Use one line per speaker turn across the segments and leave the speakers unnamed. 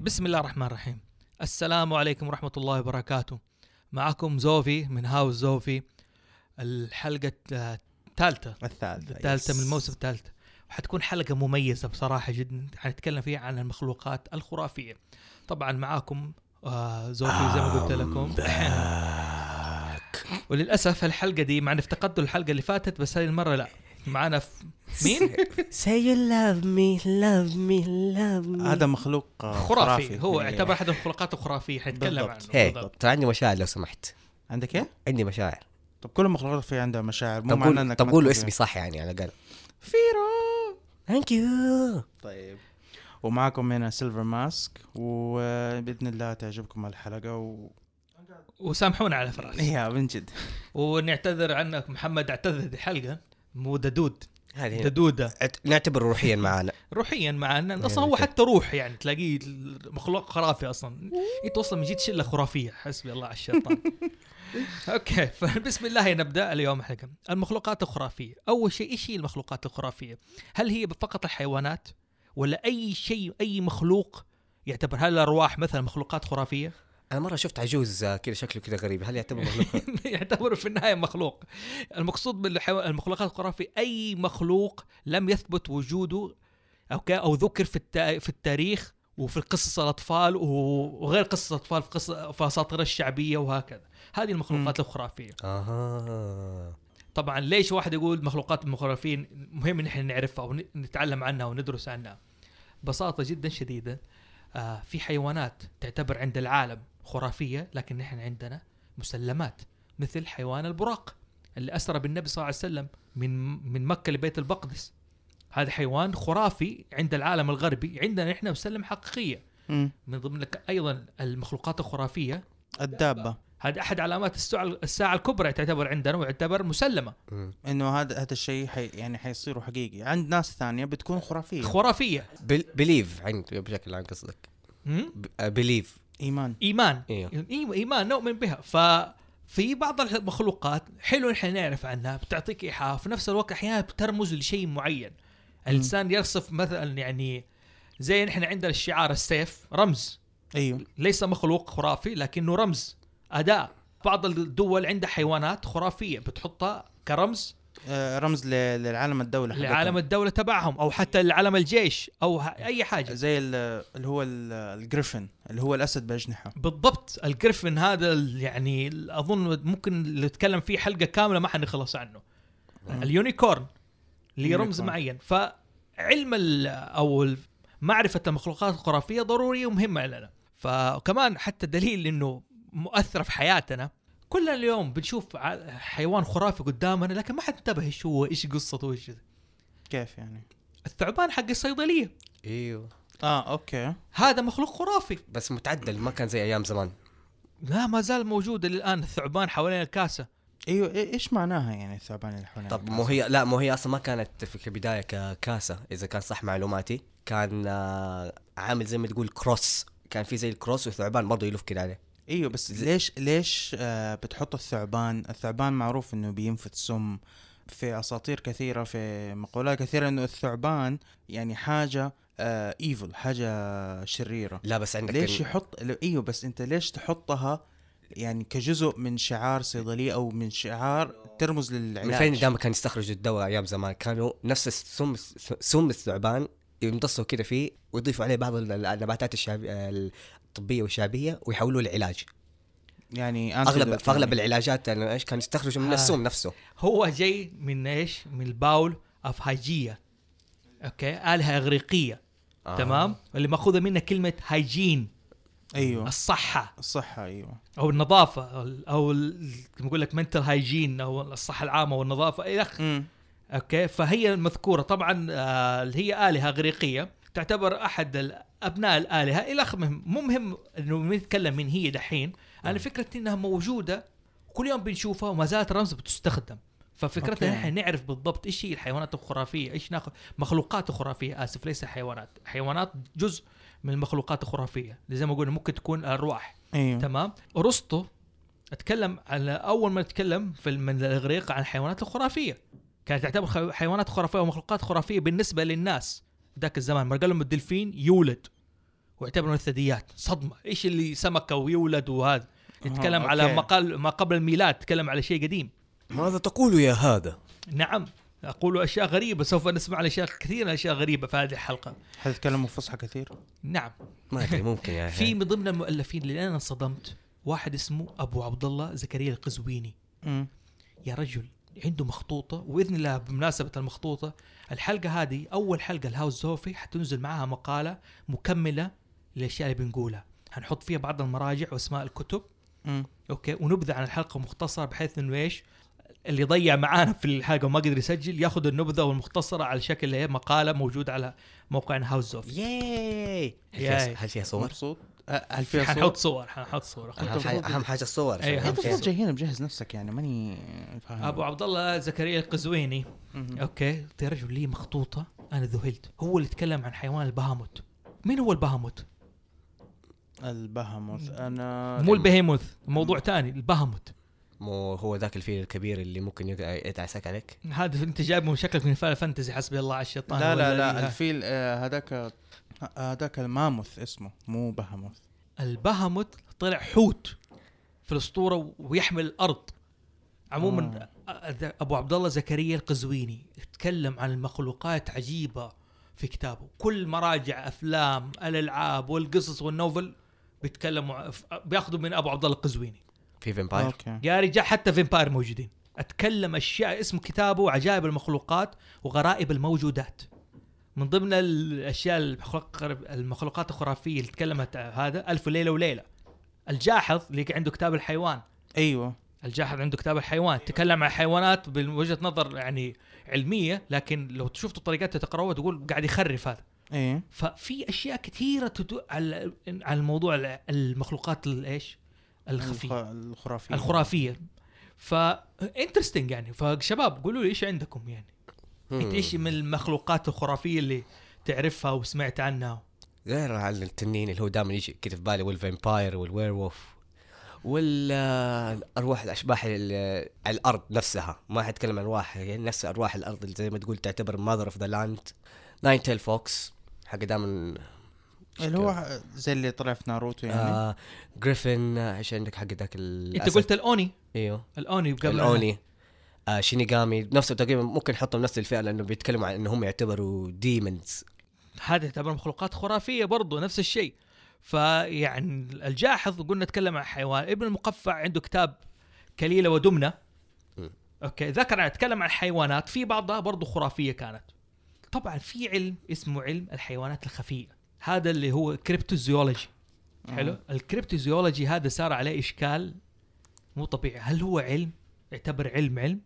بسم الله الرحمن الرحيم السلام عليكم ورحمة الله وبركاته معكم زوفي من هاوس زوفي الحلقة آه، الثالثة
الثالثة
الثالثة
يس.
من الموسم الثالث حتكون حلقة مميزة بصراحة جدا حنتكلم فيها عن المخلوقات الخرافية طبعا معاكم آه، زوفي زي ما قلت لكم
آه،
وللأسف الحلقة دي مع أن افتقدتوا الحلقة اللي فاتت بس هذه المرة لا معنا ف... مين؟
Say you love me, love me, love me.
هذا مخلوق آه،
خرافي هو
إيه.
يعتبر أحد المخلوقات الخرافية حنتكلم عنه
بالضبط.
هي
بالضبط.
ترى عندي مشاعر لو سمحت
عندك ايه؟
عندي مشاعر
طب كل المخلوقات في عندها مشاعر مو
طب
معناه
قول
انك
طب
ما
قولوا
تكون
اسمي صح يعني على الاقل
فيرو
ثانك يو
طيب ومعاكم هنا سيلفر ماسك وباذن الله تعجبكم الحلقه و...
وسامحونا على فراس
يا من جد
ونعتذر عنك محمد اعتذر دي حلقه مو ددود
هذه هنا.
ددوده
أت- نعتبر روحيا معانا
روحيا معنا اصلا هو حتى روح يعني تلاقيه مخلوق خرافي اصلا انت اصلا من جد شله خرافيه حسبي الله على الشيطان اوكي فبسم الله نبدا اليوم حلقه المخلوقات الخرافيه اول شيء ايش هي المخلوقات الخرافيه هل هي فقط الحيوانات ولا اي شيء اي مخلوق يعتبر هل الارواح مثلا مخلوقات خرافيه
انا مره شفت عجوز آه، كذا شكله كذا غريب هل يعتبر مخلوق
يعتبر في النهايه مخلوق المقصود بالحيو... المخلوقات الخرافي اي مخلوق لم يثبت وجوده او ك... او ذكر في التا... في التاريخ وفي قصص الاطفال و... وغير قصص الاطفال في قصص في اساطير الشعبيه وهكذا هذه المخلوقات الخرافيه
اها
طبعا ليش واحد يقول مخلوقات المخرفين مهم ان احنا نعرفها ونتعلم عنها وندرس عنها ببساطه جدا شديده آه في حيوانات تعتبر عند العالم خرافيه لكن نحن عندنا مسلمات مثل حيوان البراق اللي اسرى بالنبي صلى الله عليه وسلم من من مكه لبيت المقدس هذا حيوان خرافي عند العالم الغربي عندنا احنا مسلم حقيقيه
مم.
من ضمن لك ايضا المخلوقات الخرافيه
الدابه
هذا احد علامات الساعه الساعه الكبرى تعتبر عندنا ويعتبر مسلمه
مم.
انه هذا هذا الشيء حي... يعني حيصير حقيقي عند ناس ثانيه بتكون خرافيه
خرافيه
بل- بليف عند بشكل عام قصدك
مم؟
ب- آه، بليف
ايمان
ايمان
إيه.
ايوه ايمان نؤمن بها ففي بعض المخلوقات حلو احنا نعرف عنها بتعطيك ايحاء في نفس الوقت احيانا بترمز لشيء معين الانسان يصف مثلا يعني زي نحن عندنا الشعار السيف رمز
ايوه
أيوه.
ليس مخلوق خرافي لكنه رمز اداء بعض الدول عندها حيوانات خرافيه بتحطها كرمز
آه رمز ل... للعالم الدوله حقتهم.
لعالم الدوله تبعهم او حتى لعالم الجيش او ه- اي حاجه
زي ال- اللي هو ال- الجريفن اللي هو الاسد باجنحه
بالضبط الجريفن هذا ال- يعني ال- اظن ممكن نتكلم فيه حلقه كامله ما حنخلص عنه
مم.
اليونيكورن اللي رمز
اليونيكورن.
معين فعلم ال او ال- معرفه المخلوقات الخرافيه ضروريه ومهمه لنا فكمان حتى دليل انه مؤثره في حياتنا كلنا اليوم بنشوف ع- حيوان خرافي قدامنا لكن ما حد انتبه ايش هو ايش قصته ايش
كيف يعني
الثعبان حق الصيدليه
ايوه
آه.
اه اوكي
هذا مخلوق خرافي
بس متعدل ما كان زي ايام زمان
لا ما زال موجود الان الثعبان حوالين الكاسه
ايوه إي- ايش معناها يعني الثعبان اللي حوالين
طب
الكاسة؟
مو هي لا مو هي اصلا ما كانت في البدايه ككاسه اذا كان صح معلوماتي كان آه، عامل زي ما تقول كروس كان في زي الكروس وثعبان برضه يلف كده عليه
ايوه بس ليش ليش آه بتحط الثعبان؟ الثعبان معروف انه بينفث سم في اساطير كثيره في مقولات كثيره انه الثعبان يعني حاجه آه ايفل حاجه شريره
لا بس عندك
ليش
ال-
يحط ل- ايوه بس انت ليش تحطها يعني كجزء من شعار صيدليه او من شعار ترمز للعلاج
من فين دائما كان يستخرجوا الدواء ايام زمان كانوا نفس السم سم الثعبان يمتصوا كده فيه ويضيفوا عليه بعض ال- النباتات الشعب... الطبيه والشعبيه ويحولوه لعلاج
يعني
اغلب
antidote
في اغلب
يعني.
العلاجات إنه ايش كان يستخرجوا من
آه.
السم نفسه
هو جاي من ايش؟ من الباول افهاجيه اوكي الهه اغريقيه آه. تمام؟ اللي ماخوذه منها كلمه هايجين
ايوه
الصحه
الصحه ايوه
او النظافه او ال- او ال- كما اقول لك منتل هايجين او الصحه العامه والنظافه الى اخره
امم
اوكي فهي المذكوره طبعا آه، اللي هي الهه اغريقيه تعتبر احد ال- ابناء الالهه الى اخره مهم مو مهم انه نتكلم من هي دحين انا فكرتي انها موجوده كل يوم بنشوفها وما زالت رمز بتستخدم ففكرتنا
أوكي.
نحن نعرف بالضبط ايش هي الحيوانات الخرافيه ايش ناخذ مخلوقات خرافيه اسف ليس حيوانات حيوانات جزء من المخلوقات الخرافيه اللي زي ما قلنا ممكن تكون الارواح
ايوه
تمام ارسطو اتكلم على اول ما اتكلم في الم- من الاغريق عن الحيوانات الخرافيه كانت تعتبر خ- حيوانات خرافيه ومخلوقات خرافيه بالنسبه للناس ذاك الزمان ما قال لهم الدلفين يولد واعتبروا انه ثدييات صدمه ايش اللي سمكه ويولد وهذا يتكلم
آه،
على
أوكي.
مقال ما قبل الميلاد تكلم على شيء قديم
ماذا تقول يا هذا؟
نعم اقول اشياء غريبه سوف نسمع عن اشياء كثيره اشياء غريبه في هذه الحلقه
حتتكلموا فصحى كثير
نعم
ما ادري ممكن يا
في من ضمن المؤلفين اللي انا انصدمت واحد اسمه ابو عبد الله زكريا القزويني
مم.
يا رجل عنده مخطوطة وبإذن الله بمناسبة المخطوطة الحلقة هذه أول حلقة الهاوس زوفي حتنزل معاها مقالة مكملة للأشياء اللي بنقولها هنحط فيها بعض المراجع وأسماء الكتب
مم.
أوكي ونبذة عن الحلقة مختصرة بحيث إنه إيش اللي ضيع معانا في الحلقة وما قدر يسجل ياخذ النبذة والمختصرة على شكل إيه؟ مقالة موجودة على موقعنا هاوس زوفي
ياي هل
ياي.
فيها- هل فيها صور؟
مبسوط أه، هل فيها صور؟
حنحط صور حنحط صور أخوي.
اهم حاجه اهم حاجه الصور
أيوة.
أهم
انت
شيء
فوق
الصور.
جاي هنا مجهز نفسك يعني ماني فاهم
أبو عبد الله زكريا القزويني
مم.
اوكي قلت يا رجل لي مخطوطه انا ذهلت هو اللي تكلم عن حيوان البهاموت مين هو البهاموت؟
البهموث انا
مو البهيموث موضوع ثاني البهاموت
مو هو ذاك الفيل الكبير اللي ممكن يق- يتعسك عليك
هذا انت جايبه شكلك من فان فانتزي حسبي الله على الشيطان
لا لا لا
والذي-
الفيل آه، هذاك آه، هذاك الماموث اسمه مو بهموث
البهاموت طلع حوت في الاسطوره ويحمل الارض عموما
آه.
أ- ابو عبد الله زكريا القزويني تكلم عن المخلوقات عجيبه في كتابه كل مراجع افلام الالعاب والقصص والنوفل بيتكلموا بياخذوا من ابو عبد الله القزويني
في فامباير
اوكي
يا رجال حتى فيمباير موجودين اتكلم اشياء اسم كتابه عجائب المخلوقات وغرائب الموجودات من ضمن الاشياء المخلوق- المخلوقات الخرافيه اللي تكلمت هذا الف ليله وليله الجاحظ اللي عنده كتاب الحيوان
ايوه
الجاحظ عنده كتاب الحيوان تكلم عن الحيوانات من وجهه نظر يعني علميه لكن لو شفتوا طريقته تقرأوها تقول قاعد يخرف هذا
ايه
ففي اشياء كثيره تدو على على الموضوع المخلوقات الايش الخفيه
الخ- الخرافي
الخرافيه فا انترستنج يعني فشباب قولوا لي ايش عندكم يعني انت ايش من المخلوقات الخرافيه اللي تعرفها وسمعت عنها
غير عن التنين اللي هو دائما يجي كذا في بالي والفامباير والوير وولف والارواح الاشباح ال- على الارض نفسها ما حتكلم عن ارواح يعني نفس ارواح الارض اللي زي ما تقول تعتبر ماذر اوف ذا لاند ناين تيل فوكس حق دائما
اللي هو زي اللي طلع في ناروتو يعني
آه جريفن آه، ايش عندك حق ذاك ال
انت قلت الاوني
ايوه
الاوني قبل
الاوني آه شينيغامي نفسه تقريبا ممكن نحطهم نفس الفئه لانه بيتكلموا عن ان هم يعتبروا ديمونز
هذه تعتبر مخلوقات خرافيه برضو نفس الشيء فيعني الجاحظ قلنا نتكلم عن حيوان ابن المقفع عنده كتاب كليله ودمنه
م.
اوكي ذكر اتكلم عن الحيوانات في بعضها برضو خرافيه كانت طبعا في علم اسمه علم الحيوانات الخفيه هذا اللي هو كريبتوزيولوجي حلو آه. الكريبتوزيولوجي هذا صار عليه اشكال مو طبيعي هل هو علم يعتبر علم علم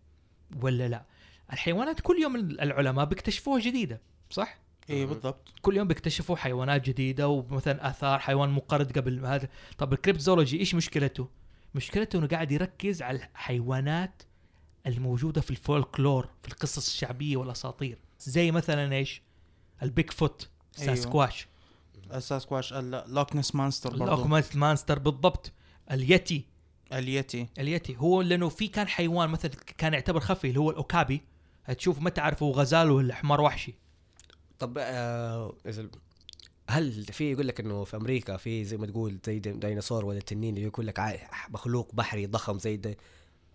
ولا لا الحيوانات كل يوم العلماء بيكتشفوها جديده صح
ايه بالضبط
كل يوم بيكتشفوا حيوانات جديده ومثلا اثار حيوان مقرد قبل هذا طب الكريبتوزولوجي ايش مشكلته مشكلته انه قاعد يركز على الحيوانات الموجوده في الفولكلور في القصص الشعبيه والاساطير زي مثلا ايش البيك فوت
أيوة.
ساسكواش
الساسكواش اللوكنس مانستر برضو
الاوكمانت مانستر بالضبط اليتي
اليتي
اليتي هو لانه في كان حيوان مثلا كان يعتبر خفي اللي هو الاوكابي تشوف ما تعرف هو غزال ولا حمار وحشي
طب آه إذا- هل في يقول لك انه في امريكا في زي ما تقول زي دي- ديناصور ولا تنين اللي يقول لك عا- مخلوق بحري ضخم زي ده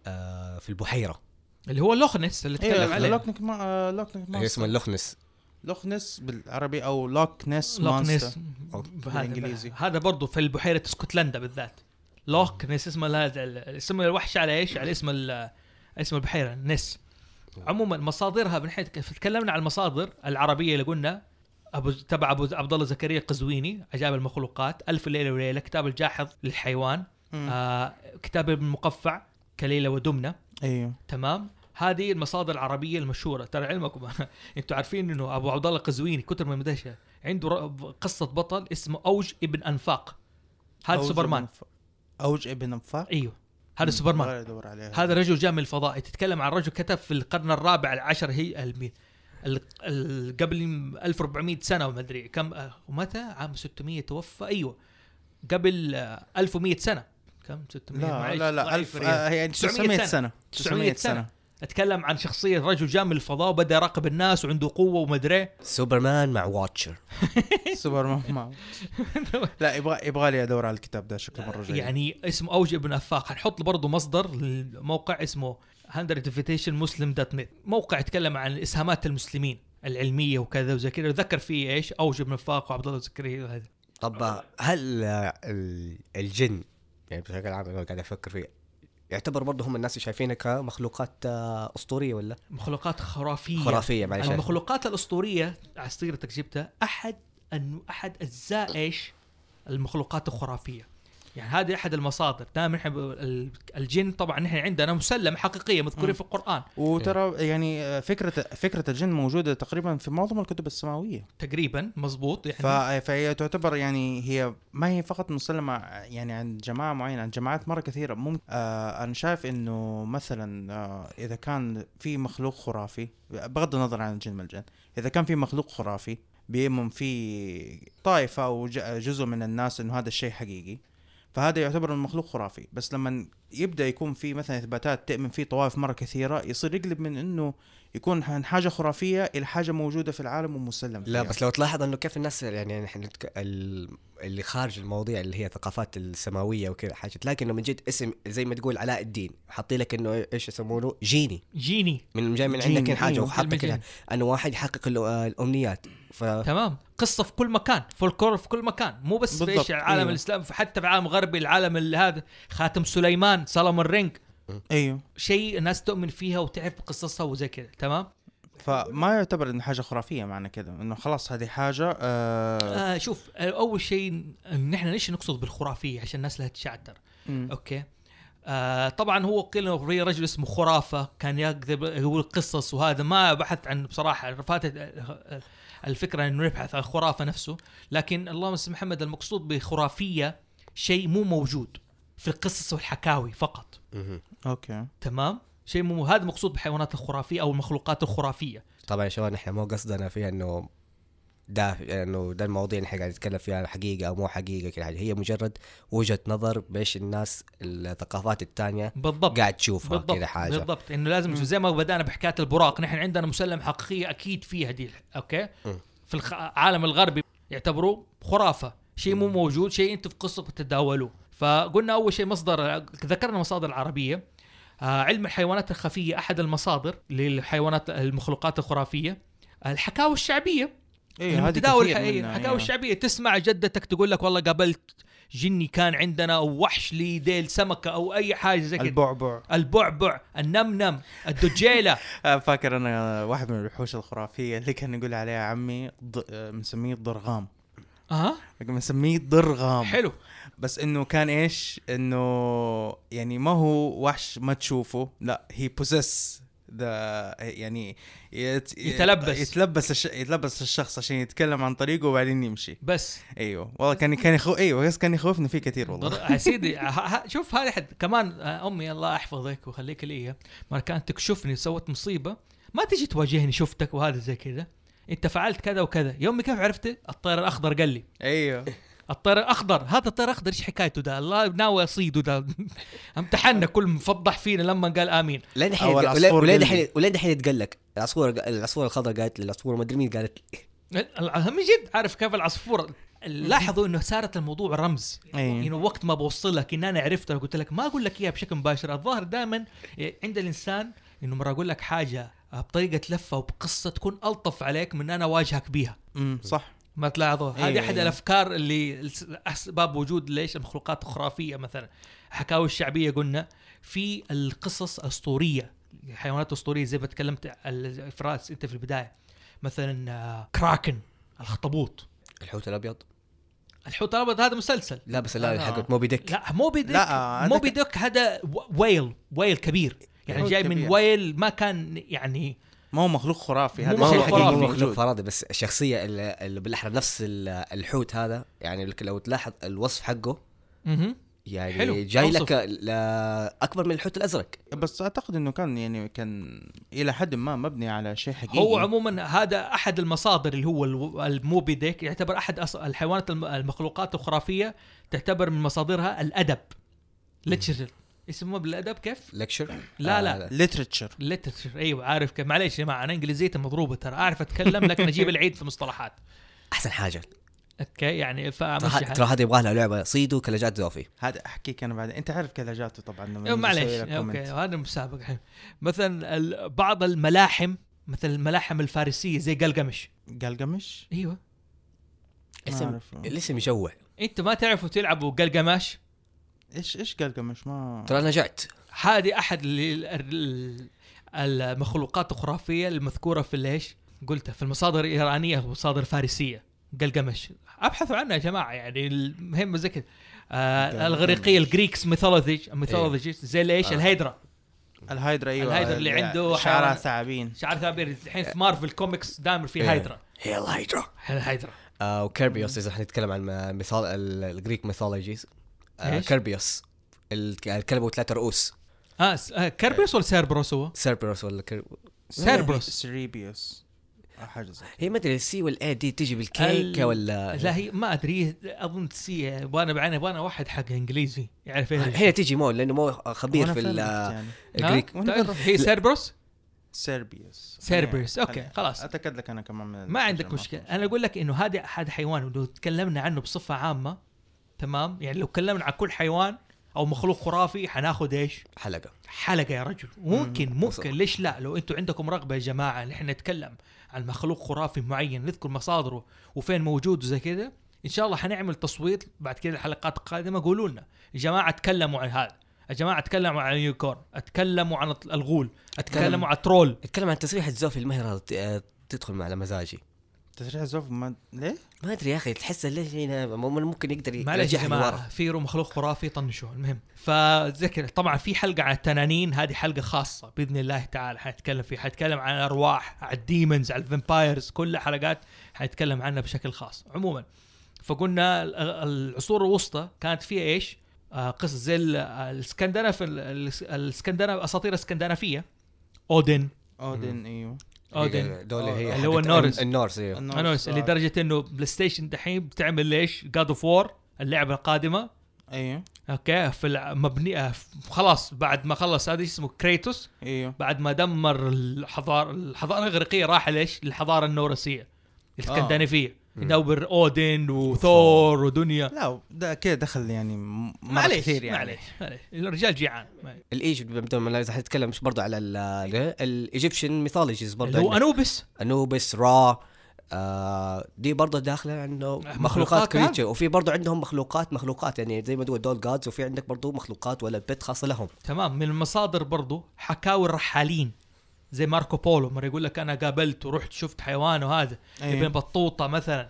آه في البحيره
اللي هو لوخنس اللي تكلم
ايه
عليه
لوكنس ما... لوكنس
اللي
مانستر
اسمه اللوخنس
لوكنس بالعربي او لوكنس
لوك نيس
مانستر
بالانجليزي
بالإنجليزي.
هذا برضه في البحيره اسكتلندا بالذات لوك نيس اسم هذا ال- اسم الوحش على ايش؟ على اسم ال- اسم البحيره نس عموما مصادرها من حيث كيف تكلمنا عن المصادر العربيه اللي قلنا ابو تبع ابو عبد الله زكريا القزويني عجائب المخلوقات الف ليله وليله كتاب الجاحظ للحيوان آه كتاب ابن المقفع كليله ودمنه
ايوه
تمام هذه المصادر العربيه المشهوره ترى علمكم انتوا عارفين انه ابو عبد الله القزويني كتر ما مدهشه عنده ر- قصه بطل اسمه اوج ابن انفاق هذا
أوج
سوبرمان
ابن ف- اوج ابن انفاق
ايوه هذا سوبرمان هذا رجل جاء من الفضاء تتكلم عن رجل كتب في القرن الرابع العشر هي المي... ال... ال... قبل 1400 سنه وما ادري كم آه، ومتى عام 600 توفى ايوه قبل آه، 1100 سنه كم 600
لا
معلش،
لا لا
ضعيف
ألف
ريال.
آه، يعني
900
900
سنة.
سنة
900 سنه اتكلم عن شخصيه رجل جاء من الفضاء وبدا يراقب الناس وعنده قوه ومدري إيه.
سوبرمان مع واتشر
سوبر مان لا يبغى يبغى لي ادور على الكتاب ده شكله مره جيد
يعني اسم اوجه بن افاق حنحط برضه مصدر لموقع اسمه 100invitationmuslim.net موقع يتكلم عن اسهامات المسلمين العلميه وكذا وزي كذا ذكر فيه ايش اوجه بن افاق وعبد الله الزكريا وهذا
طب هل آه، ال- الجن يعني بشكل عام أنا قاعد افكر فيه يعتبر برضه هم الناس اللي شايفينها كمخلوقات آه، اسطوريه ولا
مخلوقات خرافيه
خرافيه معلش
المخلوقات الاسطوريه على سيرتك جبتها احد أن احد اجزاء ايش؟ المخلوقات الخرافيه يعني هذه احد المصادر دائما احنا ب- ال- الجن طبعا نحن عندنا مسلم حقيقيه مذكوره
مم.
في القران إيه.
وترى يعني آه، فكره فكره الجن موجوده تقريبا في معظم الكتب السماويه
تقريبا مزبوط يعني
ف... فهي تعتبر يعني هي ما هي فقط مسلمه يعني عن جماعه معينه عن جماعات مره كثيره ممكن آه انا شايف انه مثلا آه اذا كان في مخلوق خرافي بغض النظر عن الجن والجن اذا كان في مخلوق خرافي بيؤمن في طائفه او ج- جزء من الناس انه هذا الشيء حقيقي فهذا يعتبر المخلوق خرافي بس لما يبدا يكون في مثلا اثباتات تؤمن فيه طوائف مره كثيره يصير يقلب من انه يكون عن حاجه خرافيه الى حاجه موجوده في العالم ومسلم
لا
فيها.
بس لو تلاحظ انه كيف الناس يعني نحن نتك... ال- اللي خارج المواضيع اللي هي الثقافات السماويه وكذا حاجه تلاقي انه من جد اسم زي ما تقول علاء الدين حاطين لك انه ايش يسمونه جيني
جيني
من جاي من
جيني،
عندك حاجه
أيوة،
وحاط
كلمة
لك إنها- انه واحد يحقق ال- آه، الامنيات ف
تمام قصه في كل مكان فولكلور في كل مكان مو بس في
بالضبط،
ايش العالم
أيوة.
الاسلام حتى في العالم الغربي العالم ال- هذا خاتم سليمان سلم الرينج
ايوه
شيء الناس تؤمن فيها وتعرف قصصها وزي كذا تمام
فما يعتبر انه حاجه خرافيه معنى كذا انه خلاص هذه حاجه آه
آه شوف آه، اول شيء نحن ليش نقصد بالخرافيه عشان الناس لا تتشعتر
مم.
اوكي آه طبعا هو قيل انه في رجل اسمه خرافه كان يكذب يقول قصص وهذا ما بحثت عن بصراحه فاتت آه، الفكره انه نبحث عن الخرافه نفسه لكن اللهم اسم محمد المقصود بخرافيه شيء مو موجود في القصص والحكاوي فقط
مهم.
اوكي
تمام شيء مو هذا مقصود بالحيوانات الخرافيه او المخلوقات الخرافيه
طبعا يا شباب نحن مو قصدنا فيها انه ده انه ده المواضيع اللي احنا قاعد نتكلم فيها حقيقه او مو حقيقه كل حاجه هي مجرد وجهه نظر بايش الناس الثقافات الثانيه
بالضبط
قاعد تشوفها
بالضبط
كذا حاجه
بالضبط انه لازم
مم.
زي ما بدانا بحكايه البراق نحن عندنا مسلم حقيقيه اكيد فيها دي اوكي
مم.
في الخ- العالم الغربي يعتبروه خرافه شيء مو موجود شيء انت في قصه بتتداولوه فقلنا اول شيء مصدر ذكرنا مصادر العربيه آه علم الحيوانات الخفيه احد المصادر للحيوانات المخلوقات الخرافيه الحكاوي الشعبيه
ايوه هذه
المتداول
كثير
الحقيقي
منها،
الحكاوي
أيوة.
الشعبيه تسمع جدتك تقول لك والله قابلت جني كان عندنا او وحش لي ديل سمكه او اي حاجه زي كذا
البعبع
البعبع النمنم الدجيله
آه، فاكر انا واحد من الوحوش الخرافيه اللي كان يقول عليها عمي ض... آه، مسميه الضرغام
اها
مسميه الضرغام
حلو
بس انه كان ايش انه يعني ما هو وحش ما تشوفه لا هي بوزس ذا يعني يت...
يتلبس.
يتلبس الش... يتلبس الشخص عشان يتكلم عن طريقه وبعدين يمشي
بس
ايوه والله كان كان يخو... ايوه بس كان يخوفني فيه كثير والله
ضر- يا سيدي ه- ه- شوف هذه حد كمان آه، امي الله يحفظك ويخليك لي اياه ما كانت تكشفني سوت مصيبه ما تجي تواجهني شفتك وهذا زي كذا انت فعلت كذا وكذا يومي كيف عرفت الطير الاخضر قال لي
ايوه
الطير الاخضر هذا الطير الاخضر ايش حكايته ده الله ناوي اصيده ده امتحنا كل مفضح فينا لما قال امين
لين الحين
أول
ولين-
عصفور
ولين
قلبي.
الحين ولين الحين يتقال لك العصفور العصفور الخضراء قالت للعصفور ما ادري مين قالت لي.
الع- من جد عارف كيف العصفور لاحظوا انه صارت الموضوع رمز
أي.
انه وقت ما بوصلك ان انا عرفت انا قلت لك ما اقول لك اياها بشكل مباشر الظاهر دائما عند الانسان انه مره اقول لك حاجه بطريقه لفه وبقصه تكون الطف عليك من إن انا اواجهك بيها
امم صح
ما تلاحظوا هذه
أيوة،
احد
أيوة.
الافكار اللي اسباب وجود ليش المخلوقات الخرافيه مثلا حكاوي الشعبيه قلنا في القصص الاسطوريه الحيوانات الاسطوريه زي ما تكلمت ال- فراس انت في البدايه مثلا آه، كراكن الخطبوط
الحوت الابيض
الحوت الابيض هذا مسلسل
لا بس لا
لا.
حقت موبي ديك
لا موبي ديك
لا، هذا
موبي
ك-
ديك هذا و- ويل ويل كبير يعني
ويل
جاي من
كبير.
ويل ما كان يعني
ما هو مخلوق خرافي
مو
هذا
ما
مخلوق
هو
شيء
خرافي.
حقيقي
حقيقي
مو مخلوق
موجود
فرضي بس الشخصيه ال- ال- بالاحرى نفس ال- الحوت هذا يعني لك- لو تلاحظ الوصف حقه
مهم.
يعني
حلو،
جاي
أوصف.
لك لا- اكبر من الحوت الازرق
بس اعتقد انه كان يعني كان الى حد ما مبني على شيء حقيقي
هو عموما هذا احد المصادر اللي هو الو- الموبي ديك يعتبر احد أص... الحيوانات الم- المخلوقات الخرافيه تعتبر من مصادرها الادب ليتشر اسمه بالادب كيف؟
لكشر
لا، لا.
آه،
ليترتشر
ليترشر ايوه عارف كيف معليش يا جماعه انا انجليزيتي مضروبه ترى اعرف اتكلم لكن اجيب العيد في مصطلحات
احسن حاجه
اوكي يعني
ترى ه-
فمشي
ترى هذا يبغى لها لعبه صيد وكلاجات زوفي
هذا احكيك انا بعدين انت عارف كذا جاته طبعا لما نيجي
إيه، معليش
نسوي لك
اوكي
comment.
هذا مسابقه الحين مثلا ال- بعض الملاحم مثل الملاحم الفارسيه زي قلقمش
قلقمش
ايوه
ما
اسم-
أعرفه.
الاسم يجوع
انت ما تعرفوا تلعبوا قلقماش
ايش ايش قلقمش ما
ترى انا جعت
هذه احد ال- ال- المخلوقات الخرافيه المذكوره في ليش قلتها في المصادر الايرانيه ومصادر فارسيه قلقمش ابحثوا عنها يا جماعه يعني المهم زي كذا آه
قلقمش.
الغريقيه الجريكس ميثولوجي ميثولوجي زي ليش
إيه. آه.
الهيدرا
الهايدرا ايوه
الهايدرا اللي عنده
شعرها
حيوان.
ثعابين
شعر ثابير الحين في مارفل كوميكس دائما في
إيه.
هايدرا
هيل هايدرا
الهايدرا
آه وكيربيوس اذا حنتكلم عن مثال الجريك ميثولوجيز آه
إيش؟
كيربيوس ال- يعني الكلب وثلاث رؤوس
اه س- آه، كربيوس ولا سيربروس هو؟
سيربروس ولا كرب...
سيربروس
سيريبيوس أو حاجه زي كده.
هي ما ادري السي والاي دي تجي
ال-
بالكيكه ولا
لا هي ما ادري اظن سي يبغانا بعدين يبغانا واحد حق انجليزي يعرف ايه
هي تجي مو لانه مو خبير
وأنا
في
فهمت
ال- آه،
يعني.
الجريك
ها؟ تعرف طيب، هي سيربروس؟
سيربيوس
سيربيوس،
خليني-
أوكي،
خليني-
خلاص.
اتاكد لك انا كمان من
ما عندك
الترجمة.
مشكله انا اقول لك انه هذا احد حيوان ولو تكلمنا عنه بصفه عامه تمام يعني لو تكلمنا عن كل حيوان او مخلوق خرافي حناخد ايش
حلقه
حلقه يا رجل ممكن
أصلاً.
ممكن ليش لا لو انتم عندكم رغبه يا جماعه ان احنا نتكلم عن مخلوق خرافي معين نذكر مصادره وفين موجود وزي كذا ان شاء الله حنعمل تصويت بعد كذا الحلقات القادمه قولوا لنا يا جماعه تكلموا عن هذا يا جماعه تكلموا عن اليونيكورن اتكلموا عن الغول اتكلموا عن الترول
اتكلم عن تسريحه زوفي المهر هذا ت- آه، تدخل مع على مزاجي
تسريح زوف ما ليه؟
ما ادري يا اخي تحس ليش هنا م- ممكن يقدر
معلش يا
يرجعها لورا
جماعه في رو مخلوق خرافي طنشوه المهم فذكر طبعا في حلقه عن التنانين هذه حلقه خاصه باذن الله تعالى حنتكلم فيها حنتكلم عن الارواح عن الديمونز عن الفامبايرز كل حلقات حنتكلم عنها بشكل خاص عموما فقلنا ال- العصور الوسطى كانت فيها ايش؟ آه، قصص زي ال- الاسكندنف الس- الاسكندنف اساطير اسكندنافيه اودن
اودن ايوه
اودن
دول هي
اللي هو
حقت
النورس.
النورس ايوه
النورس
انا
آه،
لدرجه انه بلاي ستيشن دحين بتعمل ليش؟ جاد اوف وور اللعبه القادمه
ايوه
اوكي في الع- مبني آه، ف- خلاص بعد ما خلص هذا اسمه كريتوس
ايوه
بعد ما دمر الحضاره الحضاره الاغريقيه راح ليش؟ للحضاره النورسيه الاسكندنافيه يدور اودن وثور ودنيا
لا ده كده دخل يعني م- مرة
معليش
كثير يعني
معليش معليش الرجال جيعان معليش.
الايجيبت بدون ما اذا حنتكلم مش برضه على الايجيبشن ميثولوجيز
اللي
برضه
هو
عندك.
انوبس
انوبس را آه دي برضه داخله عنه
مخلوقات
مخلوقات
كمان.
كريتشر وفي برضه عندهم مخلوقات مخلوقات يعني زي ما تقول دول جادز وفي عندك برضه مخلوقات ولا بيت خاصه لهم
تمام من المصادر برضو حكاوي الرحالين زي ماركو بولو مره يقول لك انا قابلت ورحت شفت حيوان وهذا
أيوة.
ابن بطوطه مثلا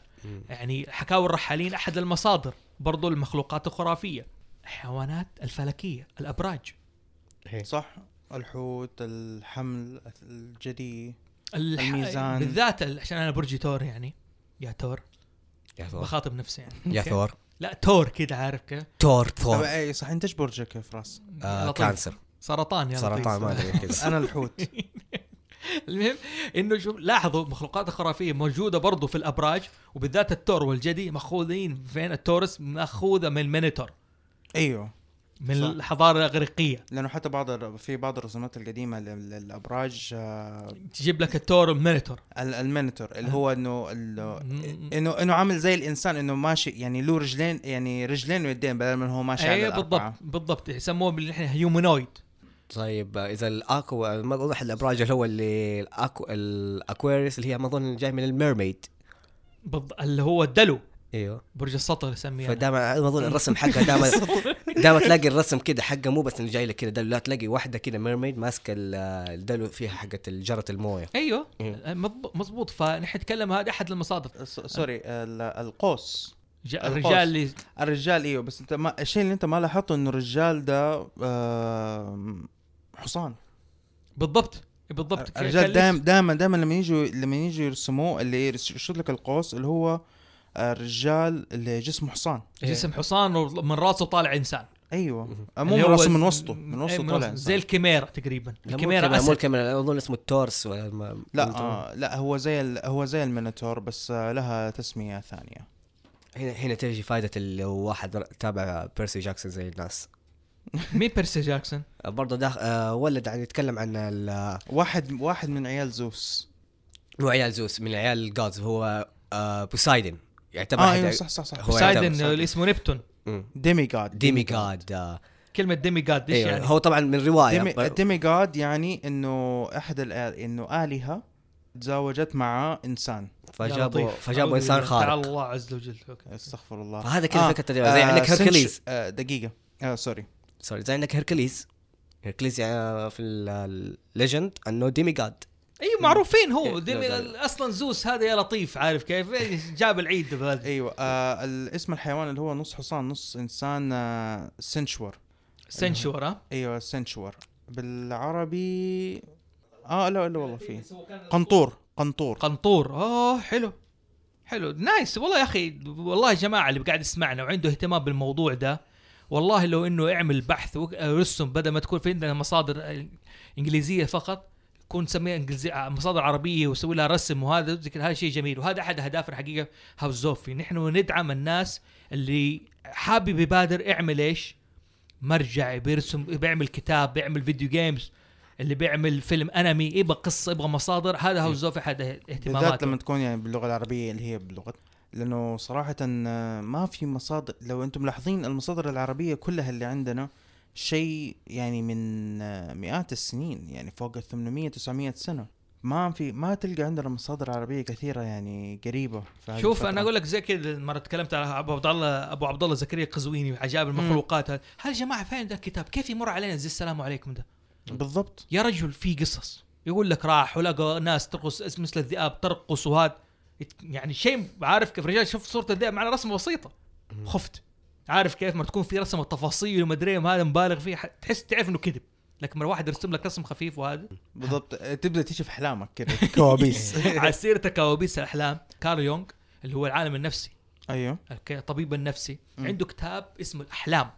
يعني حكاوي الرحالين احد المصادر برضو المخلوقات الخرافيه الحيوانات الفلكيه الابراج
صح الحوت الحمل الجدي
الح...
الميزان.
بالذات ال- عشان انا برجي تور يعني يا تور
يا ثور
بخاطب نفسي يعني
يا
أوكي.
ثور
لا تور كذا عارف كذا
تور
طب
ثور
اي صح انت ايش برجك يا فراس؟
يا
آه
لطيف.
كانسر
سرطان يا لطيف.
سرطان ما ادري كذا
انا الحوت
المهم انه شوف لاحظوا مخلوقات خرافيه موجوده برضو في الابراج وبالذات التور والجدي ماخوذين فين التورس ماخوذه من المينيتور
ايوه
من
صح.
الحضاره الاغريقيه
لانه حتى بعض الر- في بعض الرسومات القديمه لل- للابراج آه،
تجيب لك التور المينيتور
ال- المينيتور
أه.
اللي هو انه ال-
م-
انه انه عامل زي الانسان انه ماشي يعني له رجلين يعني رجلين ويدين بدل ما هو ماشي على
اي
الاربعه
إيه، بالضبط بالضبط يسموه اللي احنا هيومانويد
طيب آه، اذا الاكو ما اظن احد الابراج اللي هو اللي الأكو... الاكواريس اللي هي ما اظن جاي من الميرميد
بالض- اللي هو الدلو
ايوه
برج السطر يسميه أنا.
فدائما ما اظن الرسم حقها دائما دائما تلاقي الرسم كده حقه مو بس انه جاي لك كده دلو لا تلاقي واحده كده ميرميد ماسكه ال- الدلو فيها حقت جره المويه
ايوه
إيه.
مضب- مضبوط فنحن نتكلم هذا احد المصادر
س- سوري ال- القوس
ج-
القوس.
الرجال اللي
الرجال ايوه بس انت ما الشيء اللي انت ما لاحظته انه الرجال ده آه، حصان
بالضبط بالضبط
الرجال
كان
دائما
لسه-
دائما دائما لما يجوا لما يجوا يرسموه اللي يرشد لك القوس اللي هو الرجال اللي جسمه حصان
إيه. جسم
إيه.
حصان ومن راسه طالع انسان
ايوه مو
اللي
من
هو
راسه من وسطه من
إيه،
وسطه طالع
زي
زي
الكاميرا تقريبا
لا، مو الكاميرا
الكاميرا
مو
اسد
الكاميرا اظن اسمه التورس ولا ما-
لا
قلت-
آه لا هو زي ال- هو زي الميناتور بس آه، لها تسميه ثانيه
هنا هنا تجي فائده اللي هو واحد ر- تابع بيرسي جاكسون زي الناس
مين بيرسي جاكسون؟
برضه داخ... آه ولد عن يتكلم عن ال-
واحد واحد من عيال زوس
مو عيال زوس من عيال الجودز هو آه بوسايدن يعتبر
اه
أحد-
ايوه صح صح صح
هو يعتبر
سايدن
صح.
اللي اسمه نبتون
مم.
ديمي جاد
ديمي جاد آه
كلمه ديمي جاد ايش
ايوه
يعني؟
هو طبعا من روايه
ديمي,
بر-
ديمي جاد يعني انه احد الآل انه الهه تزوجت مع انسان
فجابوا
لطيف.
فجابوا
أعوذ
انسان
بالله. تعالى
خارق إيه.
الله عز وجل اوكي
استغفر الله آه،
فهذا
آه،
كذا فكره تقريباً، زي يعني عندك
سنش-
هيركليز.
آه دقيقه آه سوري
سوري زي عندك هيركليز هيركليز يعني في الليجند انه ديمي جاد
ايوه معروفين هو
إيه،
ديمي
لا، لا، لا.
اصلا زوس هذا يا لطيف عارف كيف؟ إيه، جاب العيد بهذا
ايوه آه ال- اسم الحيوان اللي هو نص حصان نص انسان آه سنشور
سنشور ها؟
ايوه سنشور بالعربي اه لا لا والله في قنطور قنطور
قنطور اوه حلو حلو نايس والله يا اخي والله يا جماعه اللي قاعد يسمعنا وعنده اهتمام بالموضوع ده والله لو انه اعمل بحث ورسم بدل ما تكون في عندنا مصادر انجليزيه فقط كون سميها انجليزيه مصادر عربيه وسوي لها رسم وهذا ذكر هذا شيء جميل وهذا احد اهدافنا حقيقه هاوزوفي نحن ندعم الناس اللي حابب يبادر اعمل ايش؟ مرجع بيرسم بيعمل كتاب بيعمل فيديو جيمز اللي بيعمل فيلم انمي يبغى قصه يبغى مصادر هذا هاوزوفي احد
بالذات
اهتماماته
لما تكون يعني باللغه العربيه اللي هي بلغه لانه صراحه آه، ما في مصادر لو انتم ملاحظين المصادر العربيه كلها اللي عندنا شيء يعني من آه، مئات السنين يعني فوق ال 800 900 سنه ما في ما تلقى عندنا مصادر عربيه كثيره يعني قريبه في هذه
شوف
الفترة.
انا اقول لك زي كذا مره تكلمت على ابو عبد الله ابو عبد الله زكريا القزويني عجائب المخلوقات هذا هل يا جماعه فين ذا الكتاب كيف يمر علينا زي السلام عليكم ده
بالضبط
يا رجل في قصص يقول لك راح ولقى ناس ترقص مثل الذئاب ترقص وهذا يت- يعني شيء عارف كيف رجال شفت صوره الذئاب مع رسمه بسيطه خفت عارف كيف ما تكون في رسمه تفاصيل وما ادري ما هذا مبالغ فيه ح- تحس تعرف انه كذب لكن لما واحد يرسم لك رسم خفيف وهذا
بالضبط آه، تبدا تشوف احلامك كذا كوابيس
على سيره كوابيس الاحلام كارل يونغ اللي هو العالم النفسي
ايوه
الطبيب النفسي
مم.
عنده كتاب اسمه الاحلام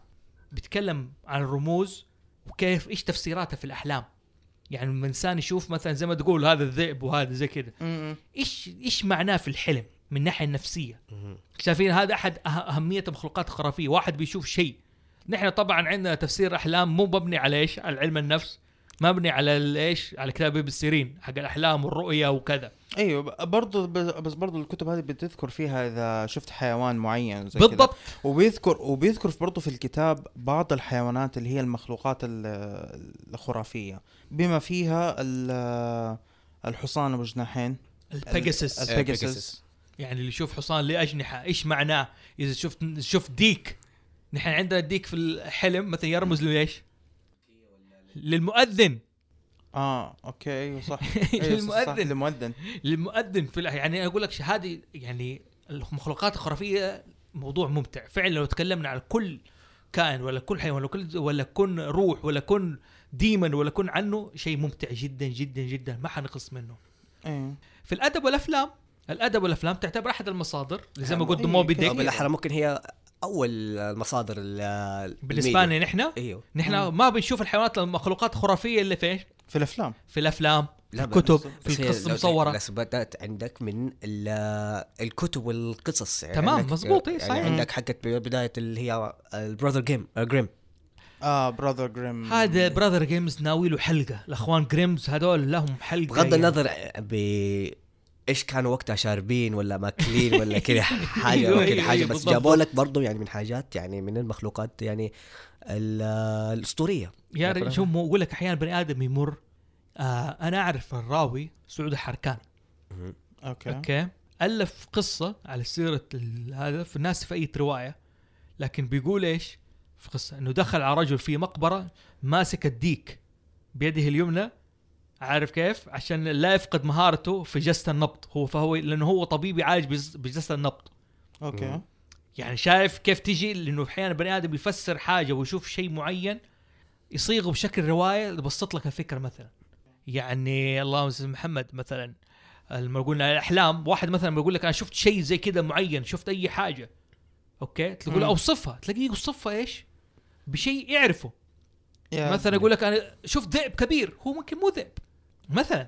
بيتكلم عن الرموز وكيف ايش تفسيراتها في الاحلام يعني لما الانسان يشوف مثلا زي ما تقول هذا الذئب وهذا زي كذا
م- م.
ايش ايش معناه في الحلم من الناحيه النفسيه شايفين هذا احد أه- اهميه مخلوقات خرافيه واحد بيشوف شيء نحن طبعا عندنا تفسير احلام مو مبني على ايش على علم النفس مبني على ال- ايش على كتاب ابن سيرين حق الاحلام والرؤيه وكذا
ايوه ب- برضو ب- بس برضو الكتب هذه بتذكر فيها اذا شفت حيوان معين زي كذا.
بالضبط
وبيذكر وبيذكر برضه في الكتاب بعض الحيوانات اللي هي المخلوقات ال- الخرافية بما فيها ال- الحصان ابو جناحين
البيجاسس
Uh,
ال- البيجاسس
يعني اللي يشوف حصان ليه اجنحه ايش معناه؟ اذا شفت شفت ديك نحن عندنا الديك في الحلم مثلا يرمز ليش؟ للمؤذن
اه اوكي ايوه صح أيوة صح، صح،
للمؤذن
للمؤذن
للمؤذن في الأح- يعني اقول لك ش- هذه يعني المخلوقات الخرافيه موضوع ممتع فعلا لو تكلمنا على كل كائن ولا كل حيوان ولا كل ولا كن روح ولا كن ديمن ولا كن عنه شيء ممتع جدا جدا جدا ما حنخلص منه
ايوه
في الادب والافلام الادب والافلام تعتبر احد المصادر زي ما قلت
أيوة،
موبي
كده.
أو
ديك
بالاحرى ممكن هي اول المصادر ال-
بالنسبه
الميديا.
لنا نحن
ايوه
نحن ما بنشوف الحيوانات المخلوقات خرافيه الا في ايش؟
في الافلام
في الافلام
لا،
في الكتب
بس-
في القصه
المصورة
المصوره
بس بدات عندك من ال- الكتب والقصص يعني
تمام،
عندك-
مظبوط، إيه،
يعني
صحيح.
عندك حقت بدايه اللي هي البراذر جيم جريم
اه براذر جريم
هذا براذر جيمز ناوي له حلقه الاخوان جريمز هذول لهم حلقه
بغض
يعني.
النظر ب ايش كانوا وقتها شاربين ولا ماكلين ولا كذا حاجه
أيوه،
ممكن
أيوه،
حاجه بس
بالضبط.
جابوا لك برضه يعني من حاجات يعني من المخلوقات يعني ال- الاسطوريه
يا رجل شوف مو اقول لك احيانا بني ادم يمر آه انا اعرف الراوي سعود الحركان
اوكي
اوكي الف قصه على سيره ال- هذا في الناس في اي روايه لكن بيقول ايش في قصه انه دخل على رجل في مقبره ماسك الديك بيده اليمنى عارف كيف عشان لا يفقد مهارته في جسد النبض هو فهو لانه هو طبيب يعالج بجس- بجسد النبض
اوكي
يعني شايف كيف تجي لانه احيانا بني ادم يفسر حاجه ويشوف شيء معين يصيغه بشكل روايه يبسط لك الفكره مثلا يعني اللهم صل على محمد مثلا لما قلنا الاحلام واحد مثلا بيقول لك انا شفت شيء زي كذا معين شفت اي حاجه اوكي تقول
مم.
اوصفها تلاقيه يوصفها ايش بشيء يعرفه
يا-
مثلا يقول لك انا شفت ذئب كبير هو ممكن مو ذئب مثلا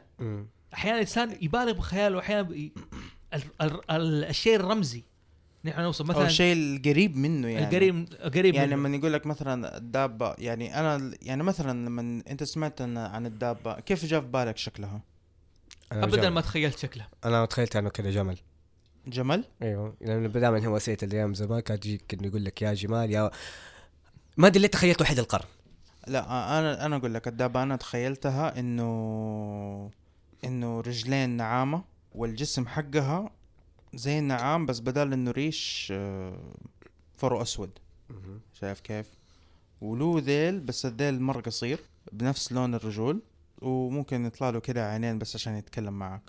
احيانا الانسان يبالغ بخياله واحيانا بي- ال- ال- ال- الشيء الرمزي نحن نوصل
او
مثلا
الشيء القريب منه يعني
القريب قريب
يعني
منه.
لما يقول لك مثلا الدابه يعني انا يعني مثلا لما انت سمعت عن- عن الدابه كيف جاء في بالك شكلها؟
أنا
ابدا
جمل.
ما تخيلت شكله
انا تخيلت انه كذا جمل
جمل؟
ايوه لانه دائما هو اسئله الايام زمان كانت تجيك انه يقول لك يا جمال يا ما ادري ليه تخيلت وحيد القرن
لا انا انا اقول لك الدابه انا تخيلتها انه انه رجلين نعامه والجسم حقها زي النعام بس بدل انه ريش آه، فرو اسود شايف كيف؟ وله ذيل بس الذيل مرة قصير بنفس لون الرجول وممكن يطلع له كده عينين بس عشان يتكلم معك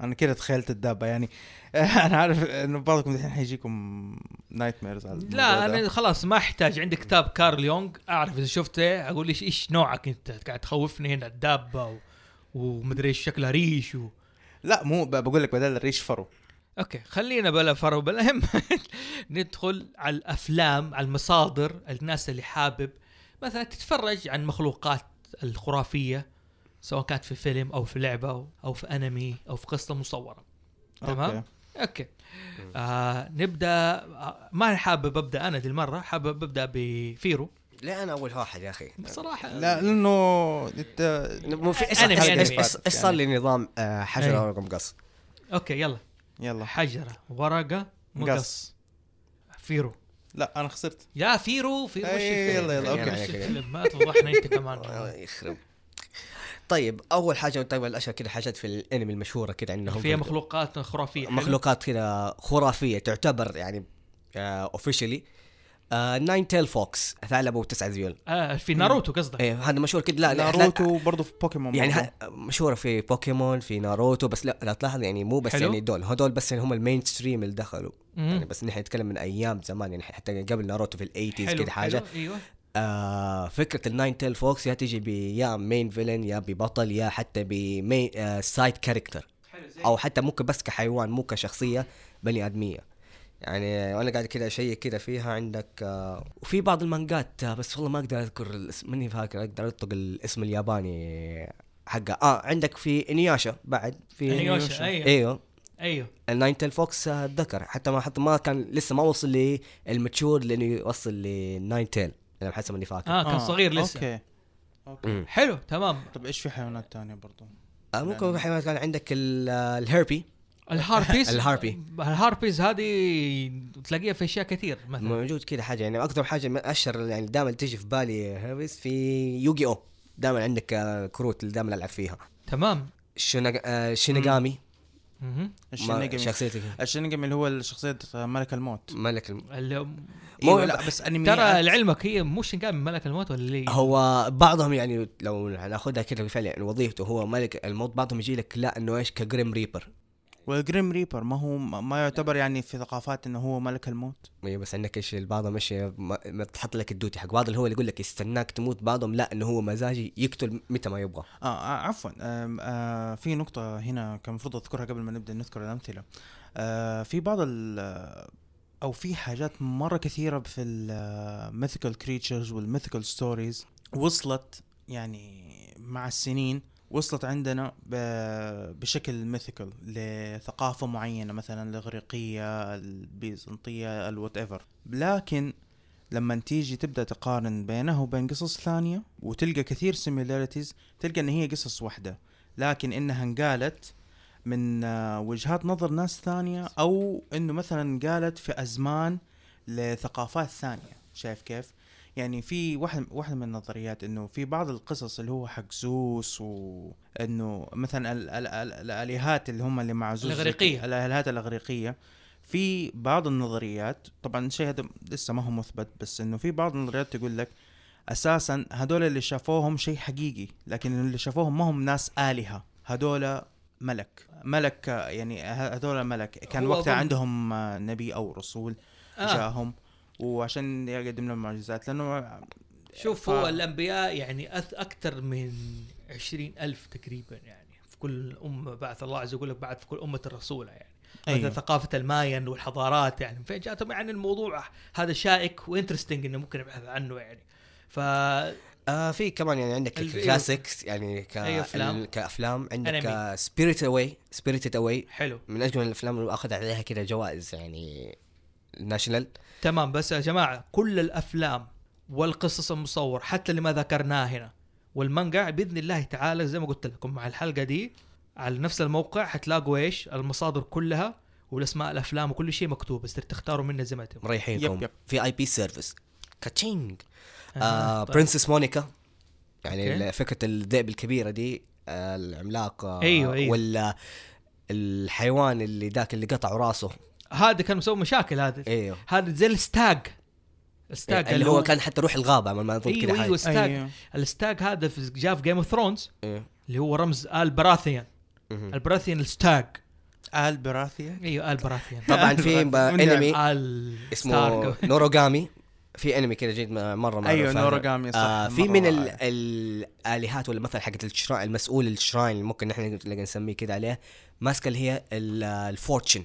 انا كده تخيلت الدابة يعني انا عارف انه بعضكم الحين حيجيكم نايت ميرز على الموضوع
لا
ده.
انا خلاص ما احتاج عندي كتاب كارل يونغ اعرف اذا شفته اقول ايش ايش نوعك انت قاعد تخوفني هنا الدابه و... ومدري ايش شكلها ريش و...
لا مو ب- بقول لك بدل الريش فرو
اوكي خلينا بلا فرو بلا هم ندخل على الافلام على المصادر الناس اللي حابب مثلا تتفرج عن مخلوقات الخرافيه سواء كانت في فيلم او في لعبه او في انمي او في قصه مصوره تمام.
أوكي.
اوكي آه نبدا آه، ما حابب ابدا انا دي المره حابب ابدا بفيرو
ليه انا اول واحد يا اخي
بصراحه
لا لانه انت
مو في
أنا-
إيش-
أنا-
إيش-
أنا-
إيش- ايش صار لي نظام آه، حجر
أيوة.
ورقه مقص
اوكي يلا
يلا
حجره ورقه مقص
مقص
فيرو
لا انا خسرت
يا فيرو فيرو
أي،
وش الفيلم؟
إيه، يلا، يلا،
فيرو
أوكي.
وش الفيلم؟ ما توضحنا انت
الله
كمان
يخرب طيب اول حاجه طيب الاشياء كذا حاجات في الانمي المشهوره كذا عندهم
فيها مخلوقات خرافيه حلو؟
مخلوقات كذا خرافيه تعتبر يعني اوفشلي ناين تيل فوكس ثعلب وتسع ذيول
آه في ناروتو قصدك
ايه هذا مشهور كده لا لا- لا-
ناروتو برضه في بوكيمون
يعني
برضو.
ه- مشهوره في بوكيمون في ناروتو بس لا لا تلاحظ يعني مو بس
حلو.
يعني دول هدول بس يعني هم المين ستريم اللي دخلوا
مم.
يعني بس نحن نتكلم من ايام زمان يعني حتى قبل ناروتو في الايتيز
حلو،
كده حاجه
حلو، ايوه
آه فكره الناين تيل فوكس يا تجي ب يا مين فيلن يا ببطل يا حتى بمين آه سايد كاركتر او حتى ممكن بس كحيوان مو كشخصيه بني ادميه يعني وانا قاعد كده اشيك كده فيها عندك آه وفي بعض المانجات آه بس والله ما اقدر اذكر الاسم ماني فاكر اقدر انطق الاسم الياباني حقه اه عندك في انياشا بعد في
إنياشا، أيوة.
ايوه, أيوة.
ايوه
الناين تيل فوكس آه، ذكر حتى ما حتى ما كان لسه ما وصل للماتشور لانه يوصل للناين تيل انا حسب اني فاكر
اه كان صغير لسه
اوكي
مم.
حلو تمام
آه، طب ايش في حيوانات تانية برضه؟
آه، ممكن حيوانات كان عندك ال- آه، الهيربي
الهاربيز
الهاربي.
الهاربيز هذه تلاقيها في اشياء كثير مثلا
موجود كذا حاجه يعني اكثر حاجه من اشهر يعني دائما تجي في بالي هيربيز في يوغي او دائما عندك آه، كروت اللي دائما العب فيها
تمام
شينج- آه، شينيغامي
مهم.
ما-
الشينيجامي
شخصيتك
الشينيجامي اللي هو شخصية ملك الموت
ملك الم...
ال-
مو-
ايوه لا بس انميات
ترى لعلمك هي مو شنقام ملك الموت ولا اللي
هو بعضهم يعني لو ناخذها كذا بالفعل يعني وظيفته هو ملك الموت بعضهم يجي لك لا انه ايش كجريم ريبر
والجريم ريبر ما هو ما يعتبر يعني في ثقافات انه هو ملك الموت
ايوه بس عندك ايش بعضهم ايش ما ما تحط لك الدوتي حق بعضهم هو اللي يقول لك يستناك تموت بعضهم لا انه هو مزاجي يقتل متى ما يبغى
اه, آه عفوا آم، آه في نقطة هنا كان المفروض اذكرها قبل ما نبدا نذكر الامثلة آه في بعض ال او في حاجات مرة كثيرة في آه، الميثيكال كريتشرز والميثيكال ستوريز وصلت يعني مع السنين وصلت عندنا ب- بشكل ميثيكال لثقافة معينة مثلا الإغريقية البيزنطية الوات ايفر لكن لما تيجي تبدا تقارن بينها وبين قصص ثانية وتلقى كثير similarities تلقى ان هي قصص واحدة لكن انها انقالت من آه، وجهات نظر ناس ثانية او انه مثلا انقالت في ازمان لثقافات ثانية شايف كيف؟ يعني في واحد واحدة من النظريات انه في بعض القصص اللي هو حق زوس وانه مثلا ال- ال- ال- الالهات اللي هم اللي مع زوس
الإغريقية.
الالهات الاغريقية في بعض النظريات طبعا الشيء هذا لسه ما هو مثبت بس انه في بعض النظريات تقول لك اساسا هذول اللي شافوهم شيء حقيقي لكن اللي شافوهم ما هم ناس الهه هذول ملك ملك آه، يعني ه- هذول ملك كان
هو
وقتها
أظن-
عندهم آه، نبي او رسول
آه.
آه. جاهم وعشان يقدم لهم معجزات لانه
شوف
ف-
هو الانبياء يعني أث اكثر من عشرين ألف تقريبا يعني في كل امه بعث الله عز وجل بعث في كل امه الرسول يعني أيوه. مثلا
أيوه. فق...
ثقافه الماين والحضارات يعني فجاتهم يعني الموضوع هذا شائك وانترستنج انه ممكن نبحث عنه يعني ف
آه في كمان يعني عندك
الف-
الكلاسيكس يعني ك...
أي أفلام؟
ال- كافلام
أنمي.
عندك سبيريت اواي سبيريتد اواي
حلو
من اجمل الافلام اللي اخذ عليها كذا جوائز يعني الناشونال
تمام بس يا جماعه كل الافلام والقصص المصور حتى اللي ما ذكرناها هنا والمانجا باذن الله تعالى زي ما قلت لكم مع الحلقه دي على نفس الموقع حتلاقوا ايش المصادر كلها والاسماء الافلام وكل شيء مكتوب بس تختاروا منه زي ما تبغوا
مريحينكم
يب- يب.
في اي بي سيرفيس كاتشينج
آه، طيب.
برنسس مونيكا يعني
أوكي.
ال- فكره الذئب الكبيره دي آه، العملاقه
أيوه، أيوه.
ولا الحيوان اللي ذاك اللي قطعوا راسه
هذا كان مسوي مشاكل هذا
ايوه
هذا زي الستاج الستاج
إيه، اللي هو كان حتى روح الغابه ما ما أظن كذا
ايوه
حاجه
ايوه الستاج
أيوه.
الستاج هذا في جاء في جيم اوف ثرونز
إيه.
اللي هو رمز البراثيان
مهم.
البراثيان الستاج
آل براثيا
ايوه البراثيان
طبعا في
من-
ب- انمي
ال
طيب. اسمه
ستارك.
نوروغامي في انمي كذا جديد م- مره معروف
ايوه
هذا.
نورغامي صح
آه في
مرة
من ال-
رائع.
الالهات ولا مثلا حقت الشراين المسؤول الشراين اللي ممكن نحن نقدر نسميه كذا عليه ماسكه اللي هي ال- الفورتشن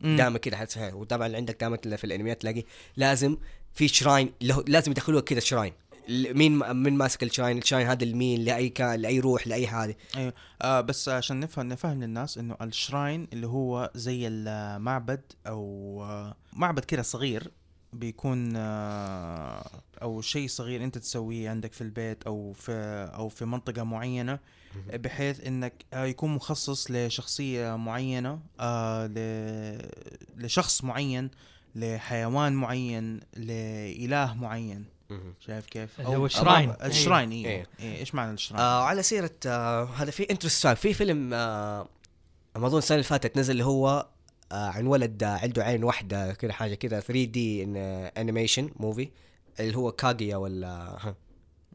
مم.
دائما كذا حتسمعها وطبعا اللي عندك دائما في الانميات تلاقي لازم في شراين له لازم يدخلوه كذا شراين ال- مين من ماسك الشراين الشراين هذا لمين لاي كان لاي روح لاي هذه
ايوه آه بس عشان نفهم نفهم للناس انه الشراين اللي هو زي المعبد او آه معبد كده صغير بيكون آه او شيء صغير انت تسويه عندك في البيت او في او في منطقه معينه بحيث انك آه يكون مخصص لشخصيه معينه آه ل- لشخص معين لحيوان معين لاله معين شايف كيف؟
اللي هو الشراين.
أو- الشراين ايوه
إيه.
إيه، ايش معنى الشراين؟
آه على سيره آه هذا في انترست في فيلم آه ما اظن السنه اللي فاتت نزل اللي هو آه عن ولد آه عنده عين واحده كذا حاجه كذا 3 دي انيميشن موفي آه، اللي هو كاغيا ولا ها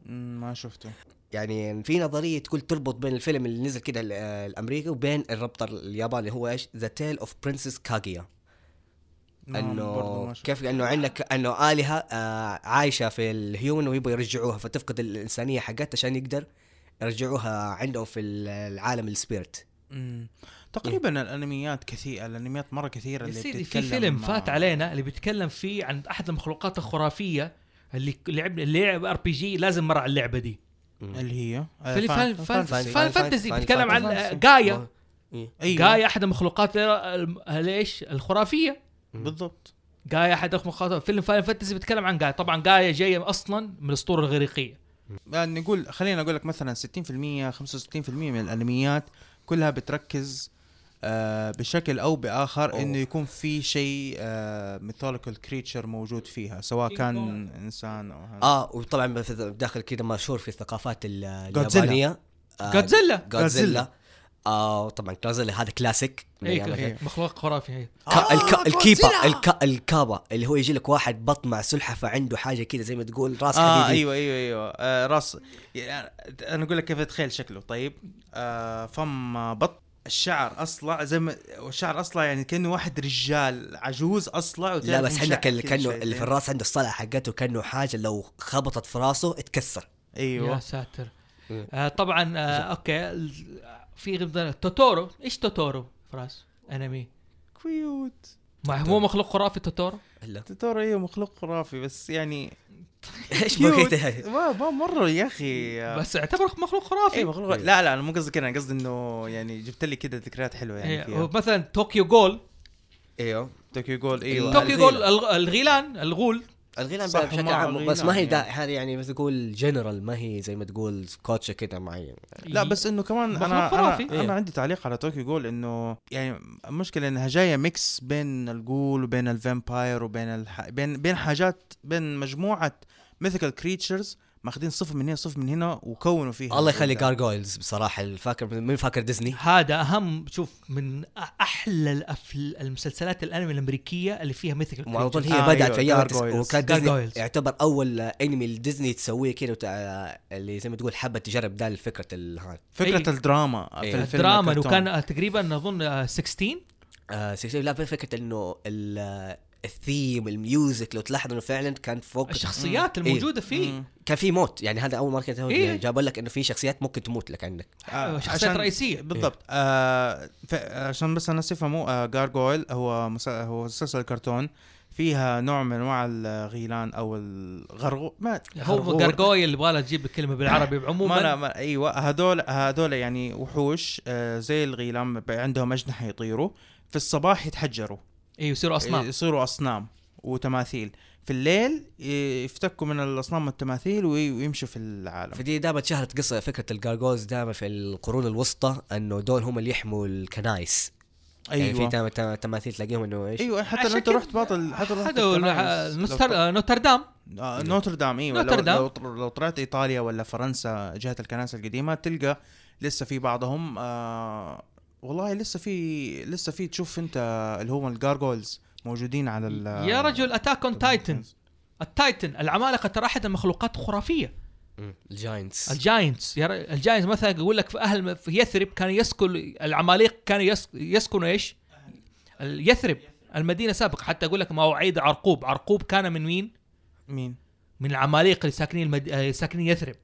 مم، ما شفته
يعني في نظريه تقول تربط بين الفيلم اللي نزل كده ال- آه، الامريكي وبين الربطه الياباني هو ايش؟ ذا تيل اوف برنسس كاغيا
ما- نعم، برضو
انه
ما شفته.
كيف انه عندك انه الهه آه، عايشه في الهيومن ويبغوا يرجعوها فتفقد الانسانيه حقتها عشان يقدر يرجعوها عندهم في ال- العالم السبيرت
مم. تقريبا الانميات كثير الانميات مره كثيره
يا
اللي
سيدي في
بتتكلم
فيلم
آه،
فات علينا اللي بيتكلم فيه عن احد المخلوقات الخرافيه اللي لعب اللي لعب ار بي جي لازم مر على اللعبه دي
يعني
اللي هي آه،
فيلم
فان-
فان
فانتسي.
فان فانتسي
فان-
بيتكلم عن
فانتسي.
آه، جايا
أيوة.
جايا احد المخلوقات ال- ال- ايش الخرافيه
بالضبط
جايا احد المخلوقات فيلم فان فانتسي بيتكلم عن جايا طبعا جايا جايه اصلا من الاسطوره الاغريقيه
آه، نقول خلينا اقول لك مثلا 60% 65% من الانميات كلها بتركز آه بشكل او باخر
أوه.
انه يكون في شيء آه ميثولوجيكال كريتشر موجود فيها سواء
King
كان انسان او هذا
اه وطبعا في داخل كده مشهور في الثقافات ال- آه،
Godzilla.
اليابانيه
آه،
Godzilla.
جودزيلا
Godzilla.
آاه طبعا جودزيلا آه، هذا يعني كلاسيك من أيام
اي
أيوة.
مخلوق خرافي هي
كا الكا الكيبا الكا الكابا اللي هو يجي لك واحد بط مع سلحفه عنده حاجه كذا زي ما تقول راس
اه
حديدي
أيوة.
ايوه ايوه ايوه آه راس يعني انا اقول لك كيف اتخيل شكله طيب آه فم بط الشعر اصلع زي ما والشعر اصلع يعني كانه واحد رجال عجوز اصلع
لا
وتعرف
بس
مشعر
عندك اللي
كذا
كانه
شويتين.
اللي في
إيه.
الراس عنده الصلعه حقته كانه حاجه لو خبطت في راسه اتكسر
يا
ايوه
ساتر
إيه.
آه طبعا آه اوكي ال- في غير توتورو ايش توتورو فراس انمي
كيوت
ما هو مخلوق خرافي توتورو
لا
ترى ايوه مخلوق خرافي بس يعني
ايش
كيوت
بقيت
ما ما مره يا اخي
بس اعتبره مخلوق خرافي
اي مخلوق لا لا انا مو قصدي كده انا قصدي انه يعني جبت لي كده ذكريات حلوه يعني
إيه،
فيها
مثلا طوكيو جول
ايوه
طوكيو جول
طوكيو
ايوه
طوكيو
الغيلة.
جول الغ- الغيلان الغول
الغيلان
صح،
بقى بشكل
ما
عام بس ما هي
غيلان،
دا هذه يعني بس تقول جنرال ما هي زي ما تقول كوتشه كذا معين
لا بس انه كمان
مخلوق
انا
إيه. خرافي.
انا,
إيه.
أنا عندي تعليق على طوكيو جول انه يعني المشكله انها جايه ميكس بين الجول وبين الفامباير وبين الح... بين بين حاجات بين مجموعه ميثيكال كريتشرز ماخذين صفر من هنا صفر من هنا وكونوا فيها
الله يخلي
الجول
جارجويلز بصراحه فاكر مين فاكر ديزني
هذا اهم شوف من أ- احلى الأفل المسلسلات الانمي الامريكيه اللي فيها ميثيكال
وأظن
كريتشرز.
هي
آه،
بدأت في
أيوة،
أيام التس-
Gargoyles.
وكان ديزني
Gargoyles.
يعتبر أول أنمي لديزني تسويه كذا وتع... اللي زي ما تقول حبت تجرب ده الفكرة ال- هاي
فكره
أي-
الدراما
إيه.
في الفيلم
دراما
الكرتون.
وكان آه، تقريبا اظن آه، 16
آه سي- سي- لا في فكرة إنه ال- الثيم الميوزك لو تلاحظ إنه فعلا كان فوق
الشخصيات
مم.
الموجوده فيه
مم.
كان في موت يعني هذا أول مرة كنت
إيه.
جاب لك إنه في شخصيات ممكن تموت لك عندك
آه،
شخصيات
عشان-
رئيسية.
بالضبط
إيه.
آه ف- عشان بس الناس يفهموا آه جارجويل هو مس- هو مسلسل كرتون فيها نوع من انواع الغيلان او الغرغو ما
إيه. هو
غرغور.
جارجوي اللي يبغى لها تجيب الكلمه بالعربي
ما انا
عموما
ما ايوه هذول هذول يعني وحوش آه زي الغيلان ب- عندهم اجنحه يطيروا في الصباح يتحجروا
اي يصيروا اصنام
يصيروا اصنام وتماثيل في الليل ي- يفتكوا من الاصنام والتماثيل وي- ويمشوا في العالم
فدي دائما شهرت قصه فكره الجارجوز دائما في القرون الوسطى انه دول هم اللي يحموا الكنائس يعني في
ايوه
دائما- دائما تماثيل تلاقيهم انه ايش
ايوه حتى لو
عشان
انت
كده
رحت باطل حتى لو رحت
هذا هو
الكنائس،
الع-
لو
نوستر-
طلع-
آه، نوتردام
آه، نوتردام ايوه لو,
إيه. نوتردام.
لو, طر- لو طلعت ايطاليا ولا فرنسا جهه الكنائس القديمه تلقى لسه في بعضهم آه والله لسه في لسه في تشوف انت اللي هم الجارجولز موجودين على ال
يا رجل اتاك اون تايتن التايتن العمالقه ترى احد المخلوقات خرافيه
الجاينتس
الجاينتس يا ر- الجاينتس مثلا يقول لك في اهل في يثرب كان يسكن العماليق كان يس- يسكنوا ايش؟ ال- يثرب المدينه سابقا حتى يقول لك مواعيد عرقوب، عرقوب كان من مين؟
مين؟
من العماليق اللي ساكنين المد... آه، ساكنين يثرب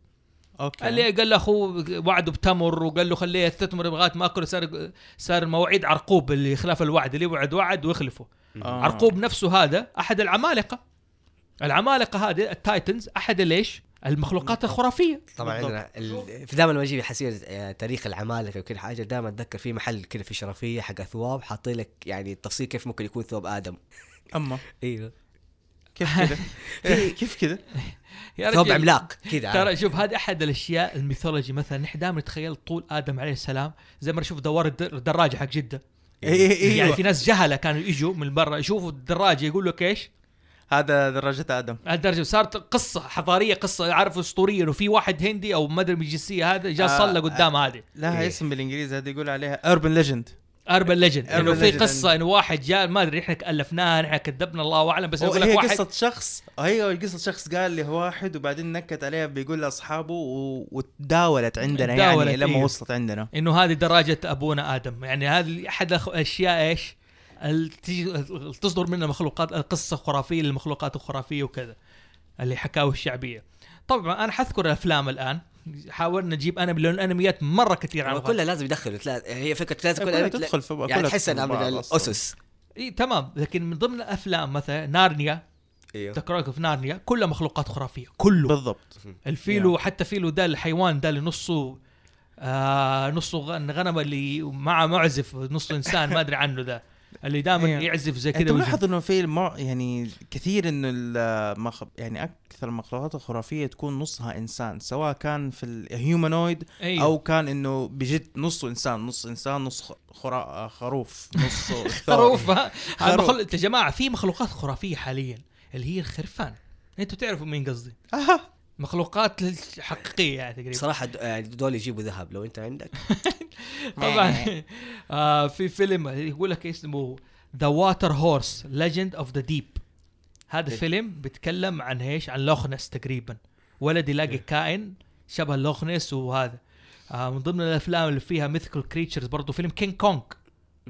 اوكي
اللي قال له اخوه وعده بتمر وقال له خليه تتمر لغايه ما اكله صار صار مواعيد عرقوب اللي خلاف الوعد اللي يوعد وعد ويخلفه
آه.
عرقوب نفسه هذا احد العمالقه العمالقه هذه التايتنز احد ليش المخلوقات الخرافيه
طبعا
بالضبط.
عندنا ال- في دائما لما اجي حسير آه، تاريخ العمالقه وكل حاجه دائما اتذكر في محل كذا في شرفيه حق اثواب حاطين لك يعني التفصيل كيف ممكن يكون ثوب ادم
اما
ايوه
كيف كذا؟ إيه، كيف كذا؟ يعني.
يا
ثوب
رجل،
عملاق كذا
ترى شوف هذه احد الاشياء الميثولوجي مثلا نحن دائما نتخيل طول ادم عليه السلام زي ما نشوف دوار الدر- الدراجه حق جده
إيه، إيه، إيه،
يعني
ايوه
في ناس جهله كانوا يجوا من برا يشوفوا الدراجه يقول لك ايش؟
هذا دراجة ادم
هالدرجه صارت قصه حضاريه قصه عارف اسطوريه انه في واحد هندي او ما ادري من الجنسيه هذا جاء
آه،
صلى قدام هذه
لها
إيه.
اسم بالانجليزي هذا يقول عليها اربن ليجند
اربن ليجند
Urban
انه في
Legend.
قصه انه واحد جاء ما ادري احنا الفناها نحن كذبنا الله اعلم بس يقول
هي
لك واحد
قصة شخص هي قصة شخص قال لي واحد وبعدين نكت عليها بيقول لأصحابه و... وتداولت عندنا
تداولت،
يعني لما
إيه.
وصلت عندنا
انه هذه دراجه ابونا ادم يعني هذه احد الأخ- الاشياء ايش ال- تيجي- ال- تصدر منها مخلوقات القصه خرافيه للمخلوقات الخرافيه وكذا اللي حكاوي الشعبيه طبعا انا حذكر الافلام الان حاولنا نجيب انا لان الانميات مره كثير عن
كلها لازم يدخلوا تلا- هي فكره لازم
إيه، كلها
كلها
تدخل في-
يعني
كلها
تحس
تدخل
انها
في
من
بعض أصلاً.
الاسس
اي تمام لكن من ضمن الافلام مثلا نارنيا
ايوه
تكرارك في نارنيا كلها مخلوقات خرافيه كله
بالضبط
الفيلو حتى فيلو ده الحيوان ده اللي نصه آه نصه غن- غنم اللي مع معزف نصه انسان ما ادري عنه ده اللي دائما
إيه.
يعزف زي
انت
كذا ويجي-
ملاحظ انه في المع... يعني كثير انه المخ... يعني اكثر المخلوقات الخرافيه تكون نصها انسان سواء كان في الهيومانويد
أيوه.
او كان انه بجد نصه انسان نص انسان نص خ- خرا... خروف نص
خروف ها؟
خروف.
المخل... يا جماعه في مخلوقات خرافيه حاليا اللي هي الخرفان انتوا تعرفوا مين قصدي
آه.
مخلوقات حقيقيه يعني تقريبا
صراحه د- يعني دول يجيبوا ذهب لو انت عندك
طبعا آه في فيلم يقول لك اسمه ذا واتر هورس ليجند اوف ذا ديب هذا فيلم بيتكلم عن ايش عن لوخنس تقريبا ولد يلاقي كائن شبه لوخنس وهذا آه من ضمن الافلام اللي فيها ميثيكال كريتشرز برضو فيلم كينج كونج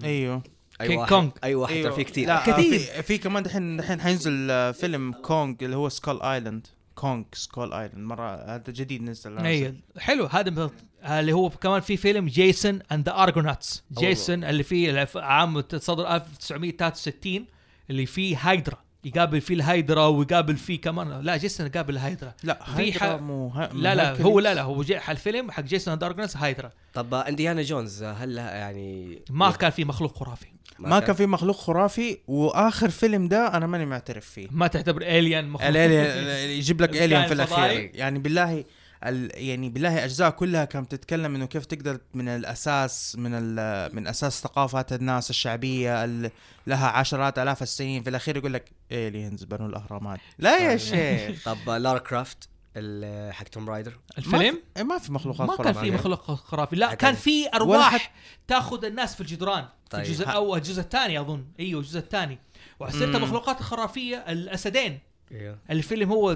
ايوه
اي
كينج
واحد
كونج.
اي واحد
أيوه.
ترى في كثير
لا
كثير.
كثير في, في كمان دحين دحين حينزل آه، فيلم كونج اللي هو سكول ايلاند كونج سكول ايلاند مره هذا جديد نزل
اي إيه، حلو هذا من- اللي هو كمان في فيلم جيسون اند ذا ارجوناتس
أول
جيسون اللي فيه الف- عام صدر 1963 اللي فيه هايدرا يقابل فيه الهايدرا ويقابل فيه كمان لا جيسون قابل الهايدرا
لا
في
في
ح-
مو ه...
لا
مو
لا
هيركليز.
هو لا لا هو جاء الفيلم حق جيسون اند ارجوناتس هايدرا
طب آه، انديانا جونز آه، هل لها يعني
ما كان في مخلوق خرافي
ما كان في مخلوق خرافي واخر فيلم ده انا ماني معترف فيه
ما تعتبر الين مخلوق
الالين يجيب لك
الكائن
الين في
الفضائي.
الاخير يعني بالله ال يعني بالله اجزاء كلها كانت تتكلم انه كيف تقدر من الاساس من ال من اساس ثقافات الناس الشعبيه ال- لها عشرات الاف السنين في الاخير يقول لك الينز بنوا الاهرامات لا يا شيخ
طب آه، لارا كرافت ال- حق توم رايدر
الفيلم
ما في, إيه، ما في مخلوقات
ما كان في
خرافية.
مخلوق خرافي لا
حتى-
كان في ارواح تاخذ الناس في الجدران في
طيب.
الجزء
ها.
الاول الجزء الثاني اظن ايوه الجزء الثاني وعسيرة
مم.
المخلوقات الخرافيه الاسدين
ايوه
الفيلم هو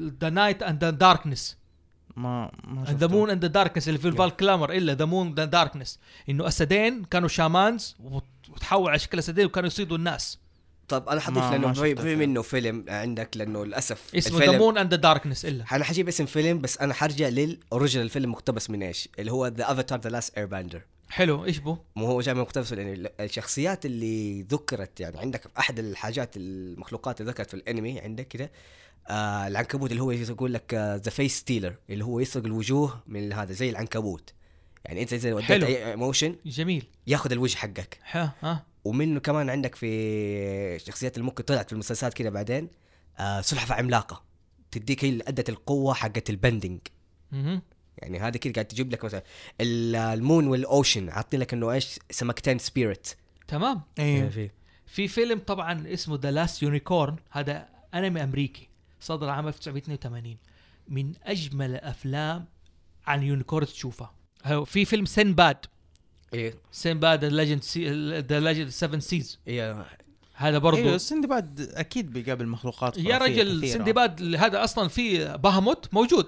ذا نايت اند ذا داركنس
ما ما
ذا
شفته.
مون اند ذا داركنس اللي في الفال كلامر الا ذا مون ذا داركنس انه اسدين كانوا شامانز وت- وتحول على شكل اسدين وكانوا يصيدوا الناس
طب انا حضيف
ما- ما
لانه في
شفته
في
فيلم.
منه فيلم عندك لانه للاسف
اسمه ذا
الفيلم
مون اند ذا داركنس الا
انا حجيب اسم فيلم بس انا حرجع للاوريجنال فيلم مقتبس من ايش؟ اللي هو ذا افاتار ذا لاست اير باندر
حلو ايش بو
مو هو جاي من مقتبس من الانمي الشخصيات اللي ذكرت يعني عندك احد الحاجات المخلوقات اللي ذكرت في الانمي عندك كده آه العنكبوت اللي هو يقول لك آه، ذا فيس ستيلر اللي هو يسرق الوجوه من هذا زي العنكبوت يعني انت اذا وديت
حلو.
اي موشن
جميل
ياخذ الوجه حقك
ها ها
ومنه كمان عندك في الشخصيات اللي ممكن طلعت في المسلسلات كده بعدين آه سلحفه عملاقه تديك هي اللي ادت القوه حقت البندنج
مهم.
يعني هذا كده قاعد تجيب لك مثلا ال- المون والاوشن عاطي لك انه ايش سمكتين سبيريت
تمام
ايوه
في
في فيلم طبعا اسمه ذا لاست يونيكورن هذا انمي امريكي صدر عام 1982 من اجمل الافلام عن يونيكورن تشوفها هو في فيلم سينباد
ايه
سينباد ليجند ذا ليجند 7 سيز
ايه
هذا برضو
ايوه سندباد اكيد بيقابل مخلوقات
يا
خرافية
رجل
كثيرة.
سندباد هذا اصلا في بهموت موجود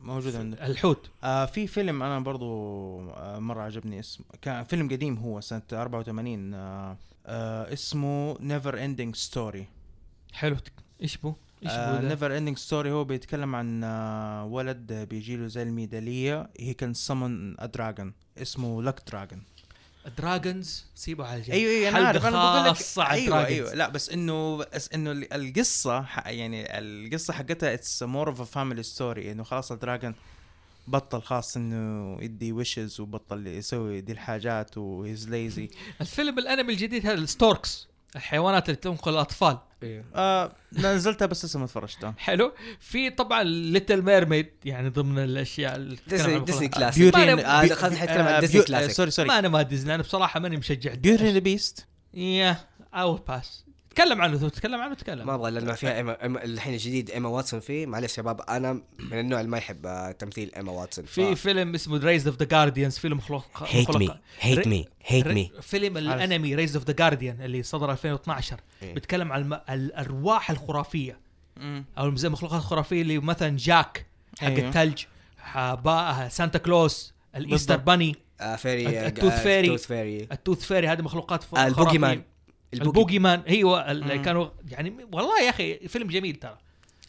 موجود عنده
الحوت
آه في فيلم انا برضو آه مره عجبني اسمه كان فيلم قديم هو سنه 84 آه آه اسمه نيفر اندنج ستوري
حلو ايش بو؟ ايش بو؟ ده؟
نيفر اندنج ستوري هو بيتكلم عن آه ولد بيجي له زي الميداليه هي كان سمن ا دراجون اسمه لك دراجون
دراجونز سيبه على الجنب
ايوه ايوه انا
حلقة
عارف انا بقول لك
خاصة عن
ايوه
Dragons.
ايوه لا بس انه بس انه ال- القصه ح- يعني القصه حقتها اتس مور اوف فاميلي ستوري انه خلاص دراجون بطل خاص انه يدي ويشز وبطل يسوي دي الحاجات وهيز ليزي
الفيلم الانمي الجديد هذا الستوركس الحيوانات اللي تنقل الاطفال
ايه
آه نزلتها بس لسه ما اتفرجتها
حلو في طبعا ليتل ميرميد يعني ضمن الاشياء اللي تتكلم
ديزني
عن
ديزني
الخلق.
كلاسيك
ما
ما
أنا-
أنا- آه، خلاص حنتكلم عن ديزني كلاسيك
سوري سوري
ما انا ما ديزني انا بصراحه ماني مشجع
بيوتي ذا بيست
يا او باس تكلم عنه تو تكلم عنه تكلم
ما ابغى لانه فيها إما إما الحين الجديد ايما واتسون فيه معلش يا باب انا من النوع اللي ما يحب آه، تمثيل ايما واتسون
في فيلم اسمه ريز اوف ذا جارديانز فيلم مخلوق
هيت مي هيت مي هيت مي
فيلم
عارف.
الانمي ريز اوف ذا جارديان اللي صدر 2012
إيه.
بيتكلم عن الم- الارواح الخرافيه او زي المخلوقات الخرافيه اللي مثلا جاك حق
أيوه.
الثلج حباء- سانتا كلوز الايستر باني
آه، فيري
التوث فيري.
التوث فيري
التوث فيري هذه مخلوقات ف-
البوجي
آه، خرافية.
مان
البوجي مان ايوه اللي
آه، مم.
كانوا يعني والله يا اخي فيلم جميل ترى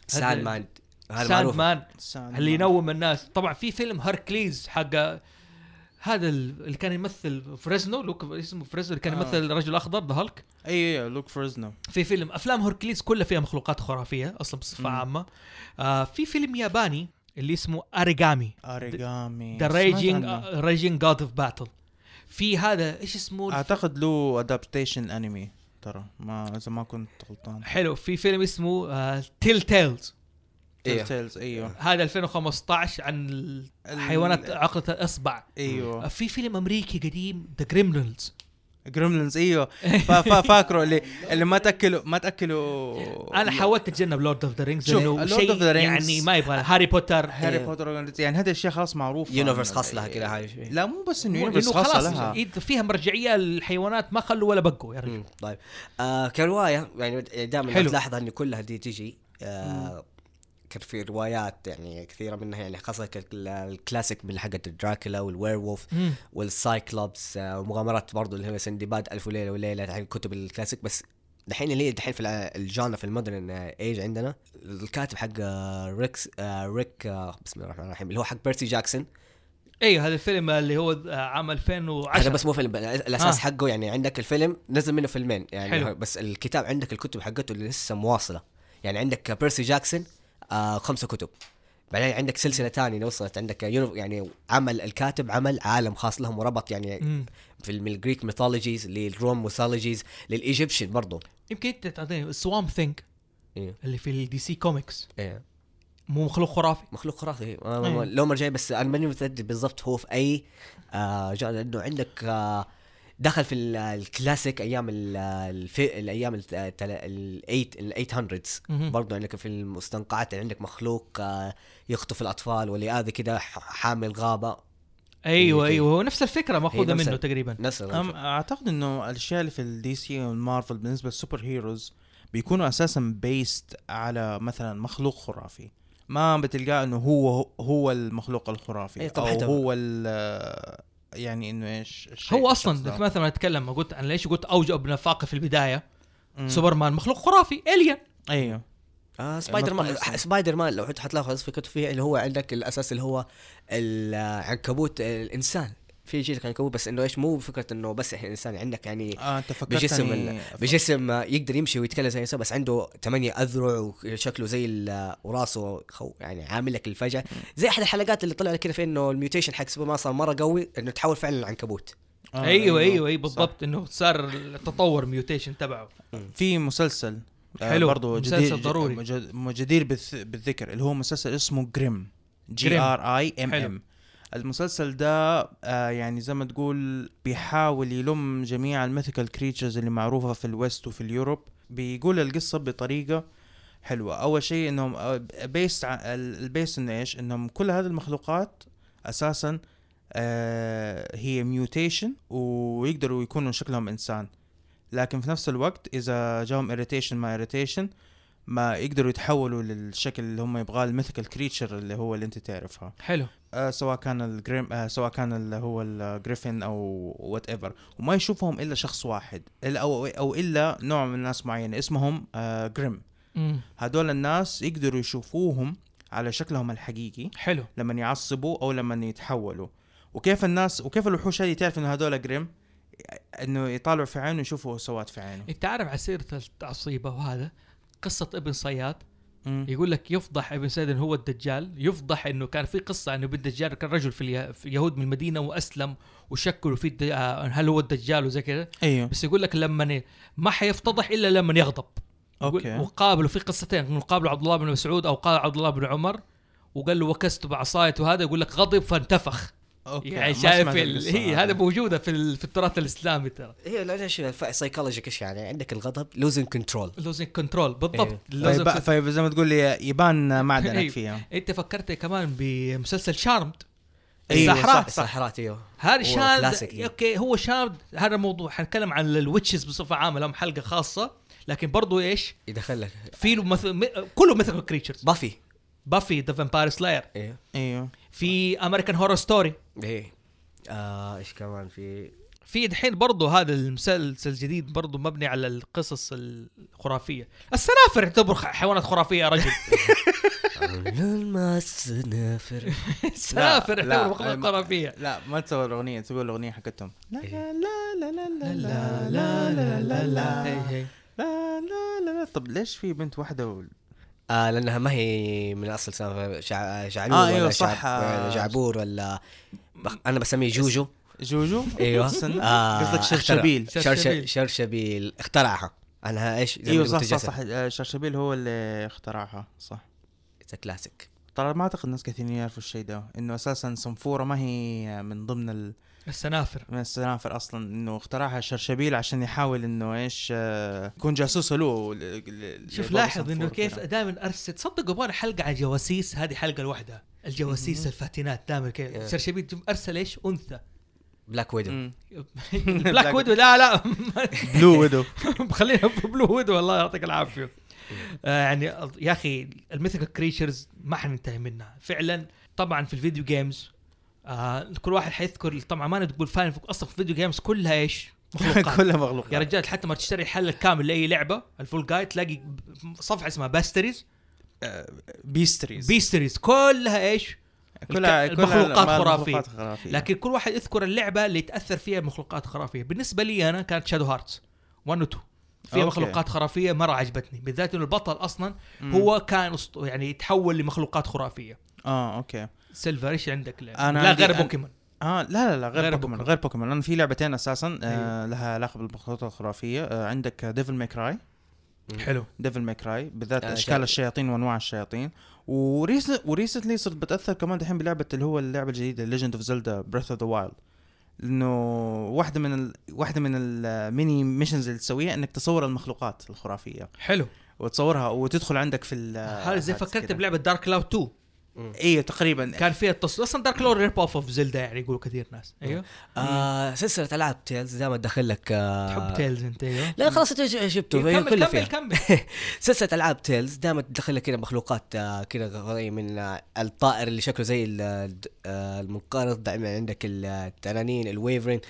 ساند مان هذا
ساند
معروف
مان اللي ينوم الناس طبعا في فيلم هركليز حق هذا ال- اللي كان يمثل فريزنو لوك اسمه فريزنو اللي كان
آه.
يمثل الرجل الاخضر ذا هالك
ايوه ايوه لوك فرزنو
في فيلم افلام هركليز كلها فيها مخلوقات خرافيه اصلا بصفه
مم.
عامه آه في فيلم ياباني اللي اسمه اريجامي
اريجامي
ذا
سمعت
ريجينج
عنه.
ريجينج جاد اوف باتل في هذا ايش اسمه الف-
اعتقد له ادابتيشن انمي ترى ما اذا ما كنت غلطان
حلو في فيلم اسمه تيل تيلز
إيه.
تيلز ايوه
هذا 2015 عن
ال-
الحيوانات عقلة الاصبع
إيه.
ايوه
في فيلم امريكي قديم ذا كريمنالز
جريملينز ايوه فا فا فاكره اللي اللي ما تاكلوا ما تاكلوا
انا حاولت اتجنب لورد اوف ذا رينجز
شوف،
لانه
Lord
شيء
of the Rings-
يعني ما يبغى هاري بوتر
هاري
إيه.
بوتر يعني هذه الاشياء خلاص معروفه
يونيفرس خاص لها كده هاي
لا مو بس انه
إنه
يونيفرس خاصه
إيه.
لها
إذا فيها مرجعيه الحيوانات ما خلوا ولا بقوا يا رجل
مم، طيب آه كروايه يعني دائما
حلو.
تلاحظ ان كلها دي تجي آه كان في روايات يعني كثيره منها يعني خاصه كال- الكلاسيك من حقت دراكولا والوير وولف
مم.
والسايكلوبس آه ومغامرات برضو اللي هي سندباد الف ليله وليله يعني الكتب الكلاسيك بس دحين اللي هي دحين في الع- الجانا في المودرن ايج عندنا الكاتب حق آه، ريكس آه، ريك آه، بسم الله الرحمن الرحيم اللي هو حق بيرسي جاكسون
ايوه هذا الفيلم اللي هو آه، عام 2010
هذا بس مو فيلم الاساس
آه.
آه. حقه يعني عندك الفيلم نزل منه فيلمين يعني
حلو.
حلو. بس الكتاب عندك الكتب حقته اللي لسه مواصله يعني عندك بيرسي جاكسون آه خمسه كتب بعدين عندك سلسله ثانيه وصلت عندك يونيف- يعني عمل الكاتب عمل عالم خاص لهم وربط يعني
مم.
في من الجريك ميثولوجيز للروم ميثولوجيز للايجيبشن برضه
يمكن انت تعطيني سوام ثينك
إيه.
اللي في الدي سي كوميكس
إيه.
مو مخلوق خرافي
مخلوق خرافي آه، ما-
إيه.
ما- لو مرجعي بس انا ماني متاكد بالضبط هو في اي آه جانر لانه عندك آه دخل في ال- الكلاسيك ايام ال- الفي الايام ال 800
مهم.
برضه عندك في المستنقعات يعني عندك مخلوق آه يخطف الاطفال واللي كذا حامل غابه
ايوه
إيه،
هي-
ايوه هو نفس الفكره ماخوذه
هي نفس
منه
ال-
تقريبا
نفس
أم
الغ-
اعتقد انه الاشياء اللي في الدي سي والمارفل بالنسبه للسوبر هيروز بيكونوا اساسا بيست على مثلا مخلوق خرافي ما بتلقاه انه هو هو المخلوق الخرافي
إيه، طب
او
حتى-
هو ال يعني انه ايش الشيء-
هو
الشخص
اصلا
ده.
مثلا اتكلم قلت انا ليش قلت اوجه ابن فاقه في البدايه
مم.
سوبرمان مخلوق خرافي الين
ايوه
آه سبايدر مان
مطلع.
سبايدر مان لو حط حتلاحظ في كتب فيه اللي هو عندك الاساس اللي هو آه، العنكبوت الانسان في جيل عنكبوت بس انه ايش مو فكره انه بس إحنا انسان عندك يعني
اه انت فكرتني
بجسم ال- بجسم آه، يقدر يمشي ويتكلم زي الانسان بس عنده ثمانية اذرع وشكله زي ال- وراسه خو يعني عامل لك الفجأة زي احد الحلقات اللي طلع كده في انه الميوتيشن حق سوبر مان صار مره قوي انه تحول فعلا لعنكبوت
آه،
ايوه ايوه اي بالضبط انه صار التطور ميوتيشن تبعه
في مسلسل آه،
حلو،
برضو
مسلسل
جدير
ضروري.
مج- جدير بالث- بالذكر اللي هو مسلسل اسمه جريم جي
Grimm.
ار اي ام
حلو.
ام المسلسل ده آه يعني زي ما تقول بيحاول يلم جميع الميثيكال كريتشرز اللي معروفه في الويست وفي اليوروب بيقول القصه بطريقه حلوه اول شيء آه، انهم بيست البيس انه ايش انهم كل هذه المخلوقات اساسا آه هي ميوتيشن ويقدروا يكونوا شكلهم انسان لكن في نفس الوقت اذا جاهم اريتيشن ما اريتيشن ما يقدروا يتحولوا للشكل اللي هم يبغاه الميثيكال كريتشر اللي هو اللي انت تعرفها
حلو
آه سواء كان الجريم آه سواء كان اللي هو الجريفن او وات ايفر وما يشوفهم الا شخص واحد إلا او او الا نوع من ناس معينه اسمهم آه جريم
امم
هذول الناس يقدروا يشوفوهم على شكلهم الحقيقي
حلو
لما يعصبوا او لما يتحولوا وكيف الناس وكيف الوحوش هذه تعرف انه هذول جريم انه يطالعوا في عينه يشوفوا سواد في عينه
انت عارف على سيره التعصيبه وهذا قصه ابن صياد
مم.
يقول لك يفضح ابن سعيد انه هو الدجال يفضح انه كان في قصه انه بالدجال كان رجل في اليه- في اليهود من المدينه واسلم وشكلوا في الد- آه، هل هو الدجال وزي كذا
ايوه
بس يقول لك لما ي- ما حيفتضح الا لما يغضب يقول-
اوكي
وقابله في قصتين انه قابله عبد الله بن مسعود او قال عبد الله بن عمر وقال له وكست بعصايته وهذا يقول لك غضب فانتفخ
اوكي
يعني
ما
شايف
سمعت
ال-
القصة
هي هذا موجوده في, ال- في التراث الاسلامي ترى
هي إيه، لا شوف سايكولوجيك ايش يعني عندك الغضب لوزن كنترول
لوزن كنترول بالضبط
إيه.
لوزن
فيب- فيب- زي طيب، ما تقول لي يبان معدنك
أيوة.
فيها
انت فكرت كمان بمسلسل شارمد
إيه،
أيوة،
السحرات
السحرات ايوه
هذا
هو
شارد
كلاسيك.
اوكي هو شارد هذا الموضوع حنتكلم عن الويتشز بصفه عامه لهم حلقه خاصه لكن برضو ايش
يدخل لك
في له مثل م- كله مثل كريتشرز
بافي
بافي ذا فامباير سلاير
ايه
ايوه
في امريكان هورر ستوري
ايه آه ايش كمان في
في دحين برضو هذا المسلسل الجديد برضو مبني على القصص الخرافيه السنافر يعتبر خ- حيوانات خرافيه يا رجل
الماس نافر
السنافر
لا،
يعتبر
لا،
مخلوق
ما-
خرافيه
لا ما تصور الاغنيه تقول الاغنيه حقتهم لا لا لا لا لا
إيه. لا لا لا لا لا إيه، هي- هي.
لا لا لا لا طب ليش في بنت واحده و...
آه لانها ما هي من اصل سنافر شع... شعلول
آه،
ولا
أيوة، صح.
شعب... ولا جعبور ولا بخ... انا بسميه جوجو
جوجو
إيه،
ايوه
استنى.
آه،
إيه، قصدك
اخترع.
شرشبيل
شرشبيل.
شرشبيل شرشبيل اخترعها انا ايش زي ما
ايوه
قلت
صح صح
جسد.
صح آه، شرشبيل هو اللي اخترعها صح
It's a classic.
ترى ما اعتقد ناس كثيرين يعرفوا الشيء ده انه اساسا صنفوره ما هي من ضمن ال-
السنافر
من السنافر اصلا انه اخترعها شرشبيل عشان يحاول انه ايش آه، يكون جاسوس له ل- ل-
شوف
لبابا
لاحظ انه
صنفور
كيف
كده.
دائما ارسل تصدق ابغى حلقه عن جواسيس هذه حلقه لوحدها الجواسيس الفاتنات دائما كذا
Yeah.
سرشبيل ارسل ايش انثى
بلاك ويدو
مم.
بلاك ويدو لا لا
بلو ويدو
خلينا في بلو ويدو والله يعطيك العافيه آه يعني يا اخي الميثيكال كريتشرز ما حننتهي منها فعلا طبعا في الفيديو جيمز آه كل واحد حيذكر طبعا ما نقول فاين اصلا في الفيديو جيمز كلها ايش؟ مخلوقات
كلها مغلوق
يا رجال حتى ما تشتري الحل الكامل لاي لعبه الفول جايد تلاقي صفحه اسمها باستريز
بيستريز
بيستريز كلها ايش؟
كلها
الك-
كلها
المخلوقات
ما-
خرافية.
المخلوقات خرافيه
لكن كل واحد يذكر اللعبه اللي تاثر فيها مخلوقات خرافيه بالنسبه لي انا كانت شادو هارتس 1 و 2 فيها
أوكي.
مخلوقات خرافيه مره عجبتني بالذات انه البطل اصلا
مم.
هو كان أسط- يعني يتحول لمخلوقات خرافيه
اه اوكي
سيلفر ايش عندك لعبة؟
أنا
لا
عندي-
غير
أنا-
بوكيمون
اه لا لا لا
غير
غير, غير بوكيمون
بوكيمون.
غير بوكيمون لان في لعبتين اساسا آه
أيوة.
لها علاقه بالمخلوقات الخرافيه آه عندك ديفل ماي كراي
حلو
ديفل ماي كراي بالذات
آه،
اشكال
شا-
الشياطين وانواع الشياطين وريس وريسنتلي صرت بتاثر كمان دحين بلعبه اللي هو اللعبه الجديده ليجند اوف زلدا بريث اوف ذا وايلد انه واحده من ال... واحده من الميني ميشنز اللي تسويها انك تصور المخلوقات الخرافيه
حلو
وتصورها وتدخل عندك في ال-
هذا زي
هذا
فكرت
كده.
بلعبه دارك كلاود 2
ايوه تقريبا
كان فيها التصوير اصلا دارك لور ريب اوف اوف زلدا يعني يقولوا كثير ناس ايوه
آه سلسله العاب تيلز دائما تدخل لك آه
تحب تيلز انت ايوه
لا خلاص انت شفته
إيه، كمل كمل
كله فيها
كمل
سلسله العاب تيلز دائما تدخل لك كذا مخلوقات آه، كذا غريبة من آه، الطائر اللي شكله زي ال- الد- آه، المنقرض دائما عندك ال- آه، التنانين الويفرين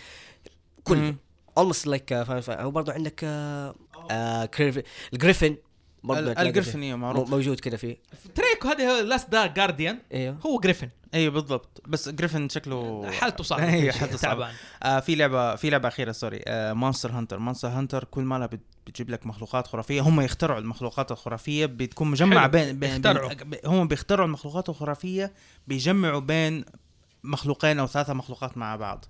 كل آه،
مم.
اولموست لايك هو برضه عندك آه، آه، كريف- الجريفن برضو
ال-
تلاقي
الجريفن،
فيه.
إيه، معروف.
مو- موجود كذا فيه
تريكو هذه لاست دارك جارديان
ايوه
هو جريفن
اي إيه، بالضبط بس جريفن شكله
حالته صعبه
اي إيه، حالته صعبه
تعبان
آه في لعبه في لعبه اخيره سوري آه، مونستر هانتر مونستر هانتر كل ما لها بت- بتجيب لك مخلوقات خرافيه هم يخترعوا المخلوقات الخرافيه بتكون مجمعه
حلو.
بين بين,
يخترعوا.
بين هم بيخترعوا المخلوقات الخرافيه بيجمعوا بين مخلوقين او ثلاثه مخلوقات مع بعض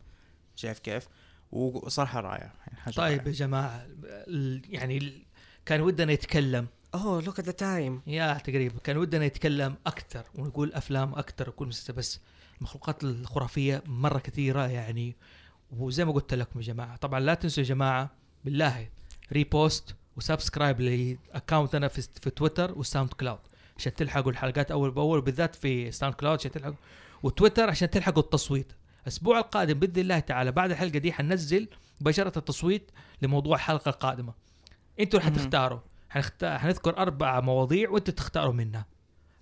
شايف كيف وصراحه رائع يعني حاجة
طيب يا
رائعة.
جماعه ال- يعني ال- كان ودنا يتكلم
اوه لوك ات ذا تايم
يا تقريبا كان ودنا نتكلم اكثر ونقول افلام اكثر وكل مسلسل بس المخلوقات الخرافيه مره كثيره يعني وزي ما قلت لكم يا جماعه طبعا لا تنسوا يا جماعه بالله ريبوست وسبسكرايب لاكونت انا في, في تويتر وساوند كلاود عشان تلحقوا الحلقات اول باول وبالذات في ساوند كلاود عشان تلحقوا وتويتر عشان تلحقوا التصويت الاسبوع القادم باذن الله تعالى بعد الحلقه دي حننزل مباشره التصويت لموضوع الحلقه القادمه انتوا اللي
مهم.
حتختاروا حنخت... حنذكر اربع مواضيع وانتوا تختاروا منها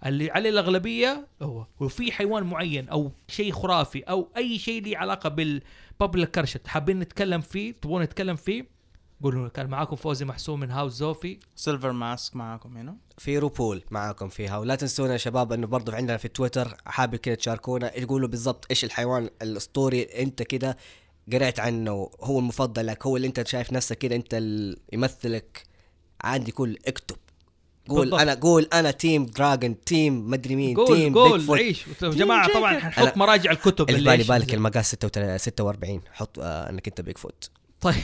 اللي عليه الاغلبيه هو وفي حيوان معين او شيء خرافي او اي شيء لي علاقه بالبابل كرشت حابين نتكلم فيه تبغون نتكلم فيه قولوا لنا. كان معاكم فوزي محسوم من هاوس زوفي
سيلفر ماسك معاكم هنا
في روبول معاكم فيها ولا تنسونا يا شباب انه برضو عندنا في تويتر حابب كده تشاركونا تقولوا بالضبط ايش الحيوان الاسطوري انت كده قرأت عنه هو المفضل لك هو اللي انت شايف نفسك كده انت اللي يمثلك عادي كل اكتب قول
بالضبط.
بالضبط. انا قول انا تيم دراجون تيم مدري مين
قول
تيم
قول
بيكفوت.
عيش يا جماعه طبعا حنحط
أنا-
مراجع الكتب
اللي بالي
إيش
بالك
نزل.
المقاس 46 46 حط آه انك انت بيك فوت
طيب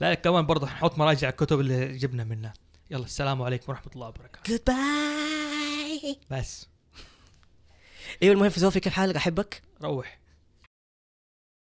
لا لا، كمان برضه حنحط مراجع الكتب اللي جبنا منها يلا السلام عليكم ورحمه الله وبركاته
جود باي
بس
ايوه المهم في أيوة، زوفي كيف حالك احبك
روح